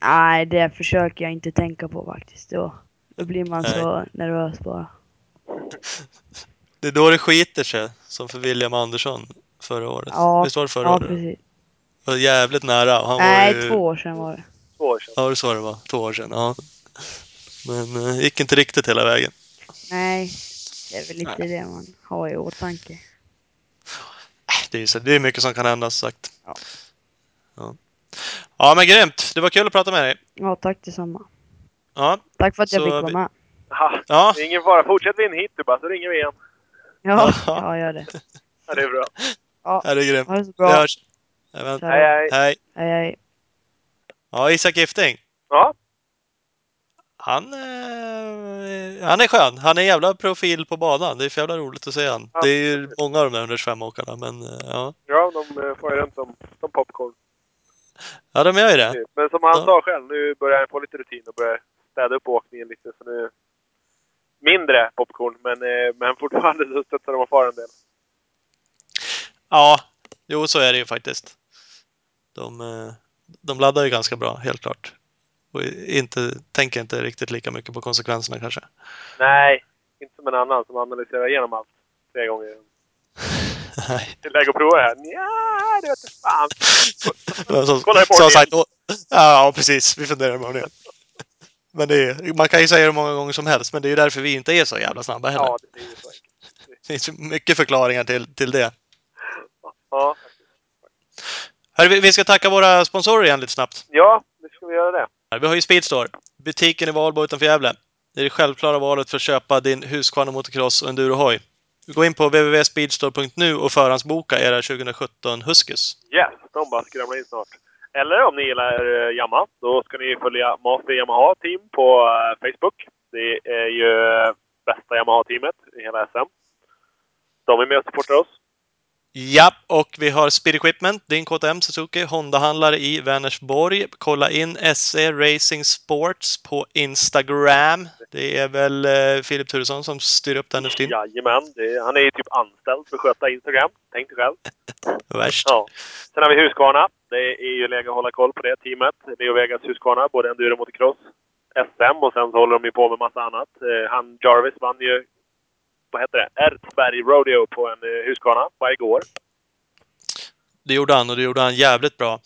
S4: Nej, det försöker jag inte tänka på faktiskt. Då, då blir man så nervös bara.
S1: Det är då det skiter sig, som för William Andersson förra året.
S4: Ja,
S1: Visst var det förra
S4: ja,
S1: året?
S4: precis.
S1: Det var jävligt nära. Han
S4: Nej,
S1: var ju...
S4: två år sedan var det.
S2: Två år sedan.
S1: Ja, det sa det var. Två år sedan. Ja. Men eh, gick inte riktigt hela vägen.
S4: Nej, det är väl lite det man har i åtanke.
S1: mjuk diesel. Äh, Det är mycket som kan hända som sagt.
S4: Ja.
S1: Ja. ja, men grymt! Det var kul att prata med dig.
S4: Ja, tack detsamma.
S1: Ja,
S4: Tack för att jag
S1: Så
S4: fick
S1: vi-
S4: vara med.
S2: Ha,
S1: ja.
S2: det är ingen fara. Fortsätt vi in hit du bara, så ringer vi igen.
S4: Ja,
S1: Ja.
S4: ja gör det.
S2: Ja, det är bra.
S1: ja det är grymt.
S4: Ha det så
S1: Vi
S4: bra.
S1: hörs. Jajamän.
S2: Hej, hej.
S1: Hej!
S4: Hej, hej.
S1: Ja, Isak Gifting.
S2: Ja,
S1: Han, eh, han är skön. Han är en jävla profil på banan. Det är för jävla roligt att se han.
S2: Ja.
S1: Det är ju många av de där 125-åkarna, men eh, ja.
S2: ja de eh, får ju runt som, som popcorn.
S1: Ja, de gör ju det.
S2: Typ. Men som han
S1: Ja.
S2: sa själv, nu börjar han få lite rutin och börjar städa upp åkningen lite. Så nu... Mindre popcorn, men, eh, men fortfarande så studsar de och far en del.
S1: Ja, jo så är det ju faktiskt. De, eh, de laddar ju ganska bra, helt klart. Och inte, tänker inte riktigt lika mycket på konsekvenserna kanske.
S2: Nej, inte som en annan som analyserar igenom allt tre gånger.
S1: Nej.
S2: Det är läge att prova det här. Nja, det vet du fan.
S1: Som,
S2: Kolla i morgon
S1: som
S2: igen.
S1: sagt, å- ja precis, vi funderar imorgon igen. Men det är, man kan ju säga det många gånger som helst, men det är ju därför vi inte är så jävla snabba heller.
S2: Ja, det är ju så enkelt.
S1: Det finns ju mycket förklaringar till, till det.
S2: Ja.
S1: Hörru, vi- vi ska tacka våra sponsorer igen lite snabbt.
S2: ja, nu ska vi göra det.
S1: Vi har ju Speedstore, butiken i Valbo utanför Gävle. Det är det självklara valet för att köpa din Husqvarna Motocross och endurohoj. Gå in på www.speedstore.nu och förhandsboka era 2017 Huskus.
S2: Yes, de bara skramlar in snart. Eller om ni gillar uh, Yamaha, då ska ni följa Master Yamaha Team på eh, Facebook. Det är ju eh, bästa Yamaha-teamet i hela SM. De är med och supportar oss.
S1: Ja, och vi har Speed Equipment, din KTM Suzuki, Honda-handlare i Vänersborg. Kolla in SE Racing Sports på Instagram. Det är väl eh, Filip Turesson som styr upp den nu för tiden.
S2: Jajamän, det, är- han är ju typ anställd för att sköta Instagram. Tänk dig själv.
S1: Värst.
S2: Ja. Sen har vi Husqvarna. Det är ju läge att hålla koll på det teamet. Leo Vegas Husqvarna, både enduro och motocross. SM och sen så håller de ju på med massa annat. Eh, Han Jarvis vann ju, vad heter det, Ertsberg Rodeo på en eh, Husqvarna bara igår.
S1: Det gjorde han och det gjorde han jävligt bra.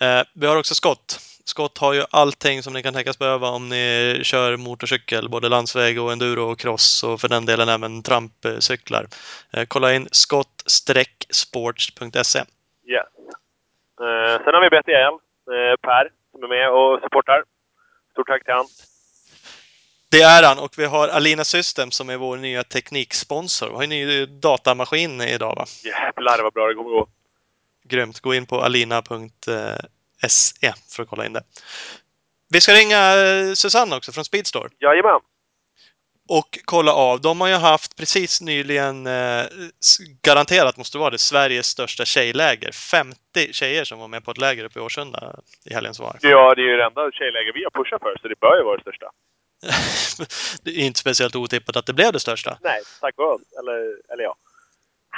S1: Eh, vi har också Scott. Scott har ju allting som ni kan tänkas behöva om ni kör motorcykel, både landsväg och enduro och cross och för den delen även trampcyklar. Eh, kolla in scott-sports.se.
S2: Yes. Eh, sen har vi BTL, eh, Per, som är med och supportar. Stort tack till han.
S1: Det är han och vi har Alina System som är vår nya tekniksponsor. Vi har ju en ny datamaskin idag va?
S2: Jävlar vad bra det kommer gå.
S1: Grymt! Gå in på alina.se för att kolla in det. Vi ska ringa eh, Susanne också från Speedstore.
S2: Jajamän!
S1: och kolla av. De har ju haft precis nyligen, eh, s- garanterat måste det vara det, Sveriges största tjejläger. 50 tjejer som var med på ett läger uppe i Årsunda i helgen som var.
S2: Ja, det är ju det enda tjejläger vi har pushat för, så det bör ju vara det största.
S1: det är inte speciellt otippat att det blev det största.
S2: Nej, tack vare oss. Eller, eller ja.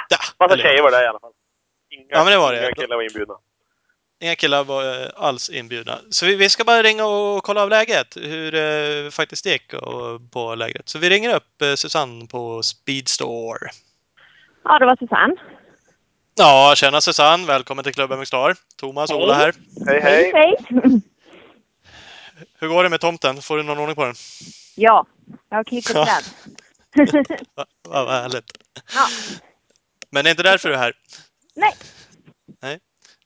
S1: Ja,
S2: Massa
S1: eller-
S2: tjejer var där i alla fall. Inga,
S1: Ja, men det var det.
S2: inga killar var inbjudna.
S1: Inga killar var eh, alls inbjudna. Så vi, vi ska bara ringa och kolla av läget, hur eh, faktiskt det gick och, på lägret. Så vi ringer upp eh, Susanne på Speedstore.
S5: Ja, det var Susanne.
S1: Ja, tjena Susanne! Välkommen till Klubben med Star. Thomas och Ola
S5: Hej.
S1: här.
S2: Hej, hej!
S5: hej.
S1: Hur går det med tomten? Får du någon ordning på den?
S5: Ja, jag har klippt
S1: Ja.
S5: ett träd.
S1: Va- va- Vad härligt.
S5: Ja.
S1: Men det är inte därför du är här.
S5: Nej,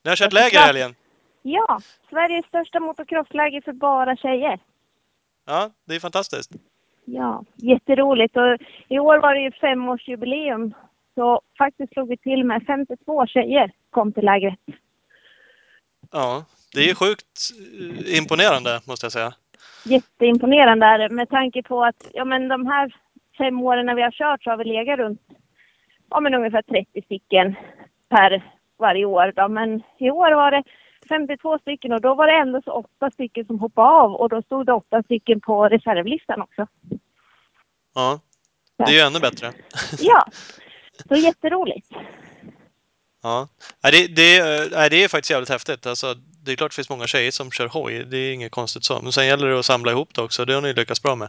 S1: Ni har kört
S5: Jag
S1: läger i
S5: förstår.
S1: helgen.
S5: ja. Sveriges största motocrossläger för bara tjejer.
S1: Ja, det är fantastiskt.
S5: Ja, jätteroligt. Och I år var det ju femårsjubileum. Så faktiskt slog vi till med 52 tjejer kom till lägret.
S1: Ja, det är ju sjukt eh, imponerande måste jag säga.
S5: Jätteimponerande är det med tanke på att ja, men de här fem åren när vi har kört så har vi legat runt ja, men ungefär 30 stycken per varje år. Då. Men i år var det 52 stycken och då var det ändå så åtta stycken som hoppade av och då stod det åtta stycken på reservlistan också.
S1: Ja, det är ju ännu bättre.
S5: Ja, så jätteroligt.
S1: Ja, Nej, det, det, eh, nej, det är faktiskt jävligt häftigt. Alltså, det är klart det finns många tjejer som kör hoj. Det är inget konstigt så. Men sen gäller det att samla ihop det också. Det har ni lyckats bra med.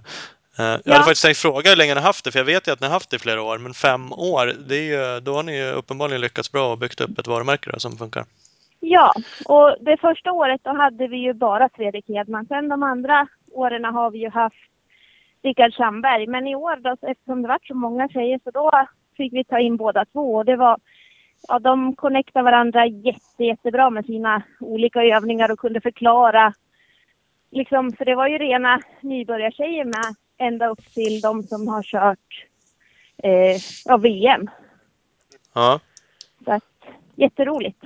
S1: Eh, Jag
S5: Ja.
S1: hade faktiskt tänkt fråga hur länge ni har haft det, för jag vet ju att ni har haft det i flera år. Men fem år, det är ju, då har ni ju uppenbarligen lyckats bra och byggt upp ett varumärke då, som funkar.
S5: Ja, och det första året då hade vi ju bara Fredrik Hedman. Sen de andra åren har vi ju haft Rickard Sandberg. Men i år då, eftersom det var så många tjejer, så då fick vi ta in båda två. Och det var ja, de connectade varandra jätte, jättebra med sina olika övningar och kunde förklara. Liksom, för det var ju rena nybörjartjejer med ända upp till de som har kört eh, ja, VM.
S1: Ja.
S5: Så att, jätteroligt.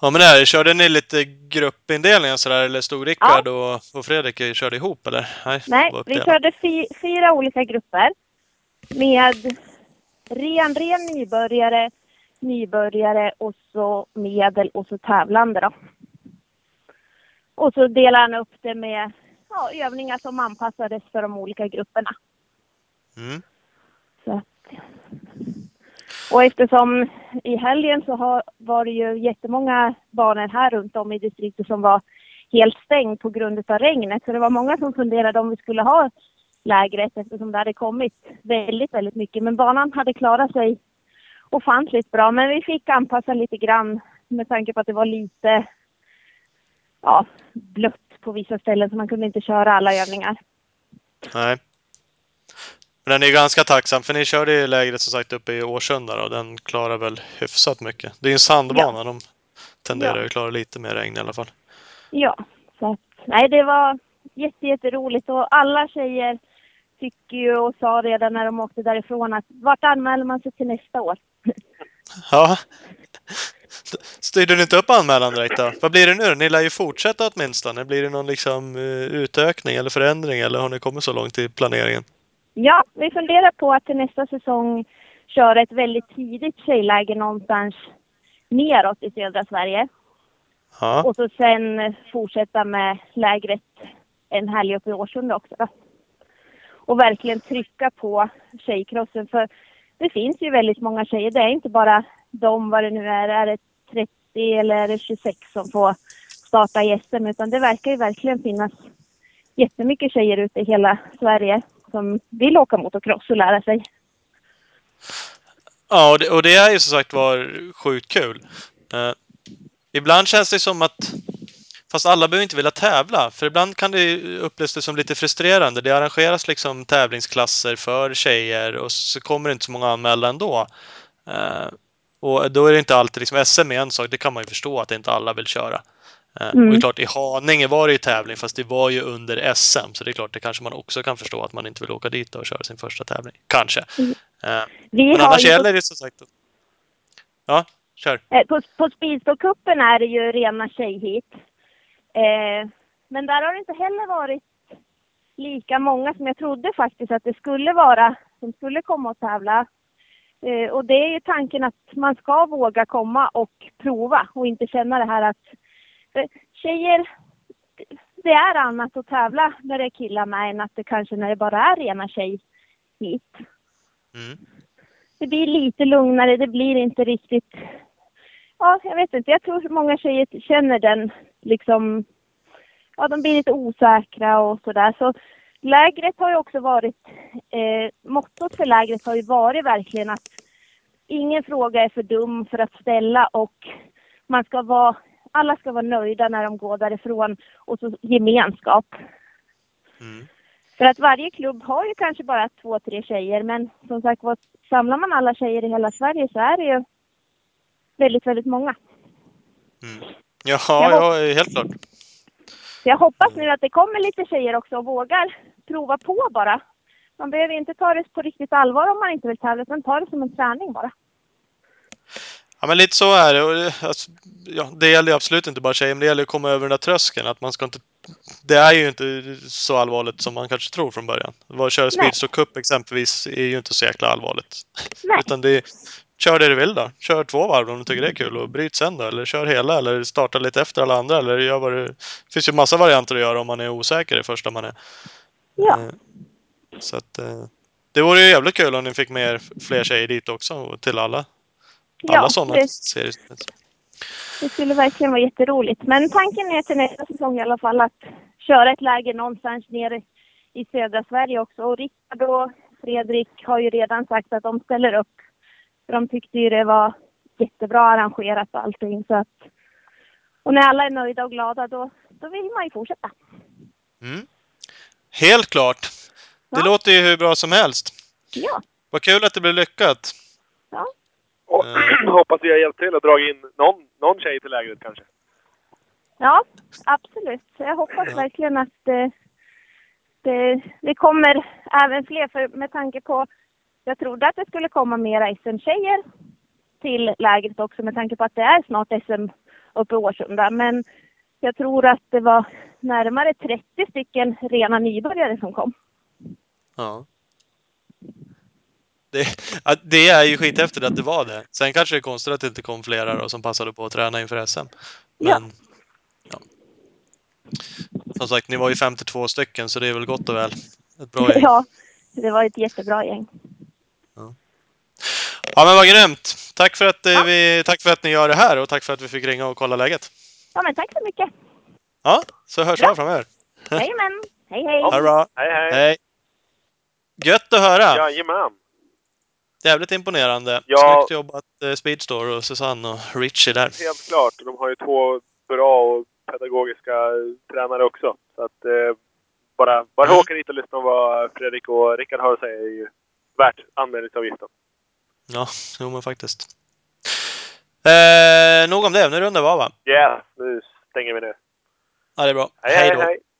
S1: Ja men det här, körde ni lite gruppindelning och sådär eller stod Rickard och, och Fredrik körde ihop eller?
S5: Nej,
S1: det var
S5: vi
S1: uppdelat.
S5: körde fy, fyra olika grupper med ren, ren nybörjare, nybörjare och så medel och så tävlande då. Och så delade han upp det med ja, övningar som anpassades för de olika grupperna.
S1: Mm.
S5: Så att... Och eftersom i helgen så har, var det ju jättemånga banor här runt om i distriktet som var helt stängd på grund av regnet. Så det var många som funderade om vi skulle ha lägret eftersom det hade kommit väldigt, väldigt mycket. Men banan hade klarat sig ofantligt bra. Men vi fick anpassa lite grann med tanke på att det var lite ja, blött på vissa ställen så man kunde inte köra alla övningar.
S1: Nej. Men den är ju ganska tacksam för ni körde ju lägret som sagt uppe i Årsunda och den klarar väl hyfsat mycket. Det är ju en sandbana, de tenderar
S5: Ja.
S1: ju att klara lite mer regn i alla fall.
S5: Ja, så att, nej det var jätte, jätteroligt och alla tjejer tycker ju och sa redan när de åkte därifrån att vart anmäler man sig till nästa år?
S1: Ja. Styrde ni inte upp anmälan direkt då? Vad blir det nu Ni lär ju fortsätta åtminstone. Blir det någon liksom eh, utökning eller förändring eller har ni kommit så långt i planeringen?
S5: Ja, vi funderar på att till nästa säsong köra ett väldigt tidigt tjejläger någonstans neråt i södra Sverige
S1: Ja,
S5: och så sen fortsätta med lägret en helg uppe i Årsunda också då. Och verkligen trycka på tjejcrossen för det finns ju väldigt många tjejer. Det är inte bara de, vad det nu är, är det 30 eller är det 26 som får starta i SM utan det verkar ju verkligen finnas jättemycket tjejer ute i hela Sverige som vill åka motocross och lära sig.
S1: ja och, det, och det är ju som sagt var sjukt kul. Eh, ibland känns det som att Fast alla behöver inte vilja tävla, för ibland kan det ju upplevas det som lite frustrerande. Det arrangeras liksom tävlingsklasser för tjejer och så kommer det inte så många anmälda ändå. Eh, och då är det inte alltid liksom, SM är en sak, det kan man ju förstå att inte alla vill köra. Eh, Och det är klart, i Haninge var det ju tävling, fast det var ju under SM, så det är klart, det kanske man också kan förstå att man inte vill åka dit och köra sin första tävling. Kanske. Eh,
S5: Vi
S1: men
S5: har
S1: annars
S5: ju-
S1: gäller det som sagt... Ja, kör.
S5: Eh, På, på Speedstockcupen är det ju rena tjejhit. Eh, men där har det inte heller varit lika många som jag trodde faktiskt att det skulle vara som skulle komma och tävla. Eh, och det är ju tanken att man ska våga komma och prova och inte känna det här att för tjejer, det är annat att tävla när det är killar med än att det kanske när det bara är rena tjejhit
S1: Mm.
S5: det blir lite lugnare, det blir inte riktigt... Ja, jag vet inte. Jag tror många tjejer känner den liksom... Ja, de blir lite osäkra och sådär. Så lägret har ju också varit... Eh, mottot för lägret har ju varit verkligen att ingen fråga är för dum för att ställa och man ska vara... Alla ska vara nöjda när de går därifrån och så gemenskap.
S1: Mm.
S5: För att varje klubb har ju kanske bara två, tre tjejer men som sagt var, samlar man alla tjejer i hela Sverige så är det ju väldigt, väldigt många.
S1: Mm. Ja, ja, helt klart.
S5: Så jag hoppas nu att det kommer lite tjejer också och vågar prova på bara. Man behöver inte ta det på riktigt allvar om man inte vill tävla utan ta det som en träning bara.
S1: Ja, men lite så är det. Och det, alltså, ja, det gäller ju absolut inte bara tjejer, men det gäller att komma över den där tröskeln. Att man ska inte, det är ju inte så allvarligt som man kanske tror från början. Att köra Speedstock Cup exempelvis är ju inte så jäkla allvarligt.
S5: Nej.
S1: Utan det är, kör det du vill då. Kör två varv om du tycker det är kul och bryt sen då. Eller kör hela eller starta lite efter alla andra. Eller gör vad du, det finns ju massa varianter att göra om man är osäker det första man är.
S5: Ja,
S1: Eh, Så att, eh, det vore ju jävligt kul om ni fick med er fler tjejer dit också och till alla. Alla
S5: ja
S1: sådana
S5: det,
S1: serier.
S5: det skulle verkligen vara jätteroligt. Men tanken är till nästa säsong i alla fall att köra ett läger någonstans nere i södra Sverige också. Och Rickard och Fredrik har ju redan sagt att de ställer upp. För de tyckte ju det var jättebra arrangerat och allting. Så att, och när alla är nöjda och glada då, då vill man ju fortsätta.
S1: Mm. Helt klart. Det
S5: Ja.
S1: låter ju hur bra som helst.
S5: Ja,
S1: Vad kul att det blev lyckat.
S5: ja.
S2: Och, hoppas vi har hjälpt till att dra in någon, någon tjej till lägret kanske.
S5: Ja, absolut. Så Jag hoppas
S1: Ja.
S5: verkligen att eh, det, det kommer även fler. För med tanke på, jag trodde att det skulle komma mera SM-tjejer till lägret också med tanke på att det är snart SM uppe i Årsunda. Men jag tror att det var närmare 30 stycken rena nybörjare som kom.
S1: Ja. Det, ja, det är ju skithäftigt att det var det. Sen kanske det är konstigt att det inte kom flera då, som passade på att träna inför SM.
S5: Ja.
S1: Men, ja. Som sagt, ni var ju 52 stycken så det är väl gott och väl. Ett bra gäng.
S5: ja, det var ett jättebra gäng.
S1: Ja men vad grymt! Tack för, att, eh,
S5: Ja.
S1: vi, tack för att ni gör det här och tack för att vi fick ringa och kolla läget.
S5: Ja, men tack så mycket.
S1: Ja, så hörs vi
S5: Bra.
S1: framöver.
S5: Jajamän. Hej, hej.
S1: Ha det bra!
S2: Hej, hej!
S1: Hej! Gött att höra!
S2: Jajamän!
S1: Jävligt imponerande.
S2: Ja.
S1: Snyggt jobbat eh, Speedstore och Susanne och Richie där.
S2: Helt klart. De har ju två bra och pedagogiska tränare också. Så att eh, bara, bara
S1: Mm.
S2: åka dit och lyssna på vad Fredrik och Rickard har att säga är ju värt anmälningsavgiften.
S1: Ja, jo men faktiskt. Eh, nog om det, nu rundar vi av va?
S2: Ja, yeah. nu stänger vi ner.
S1: Ja, det är bra.
S2: Hej,
S1: hej
S2: hej,
S1: då!
S2: hej!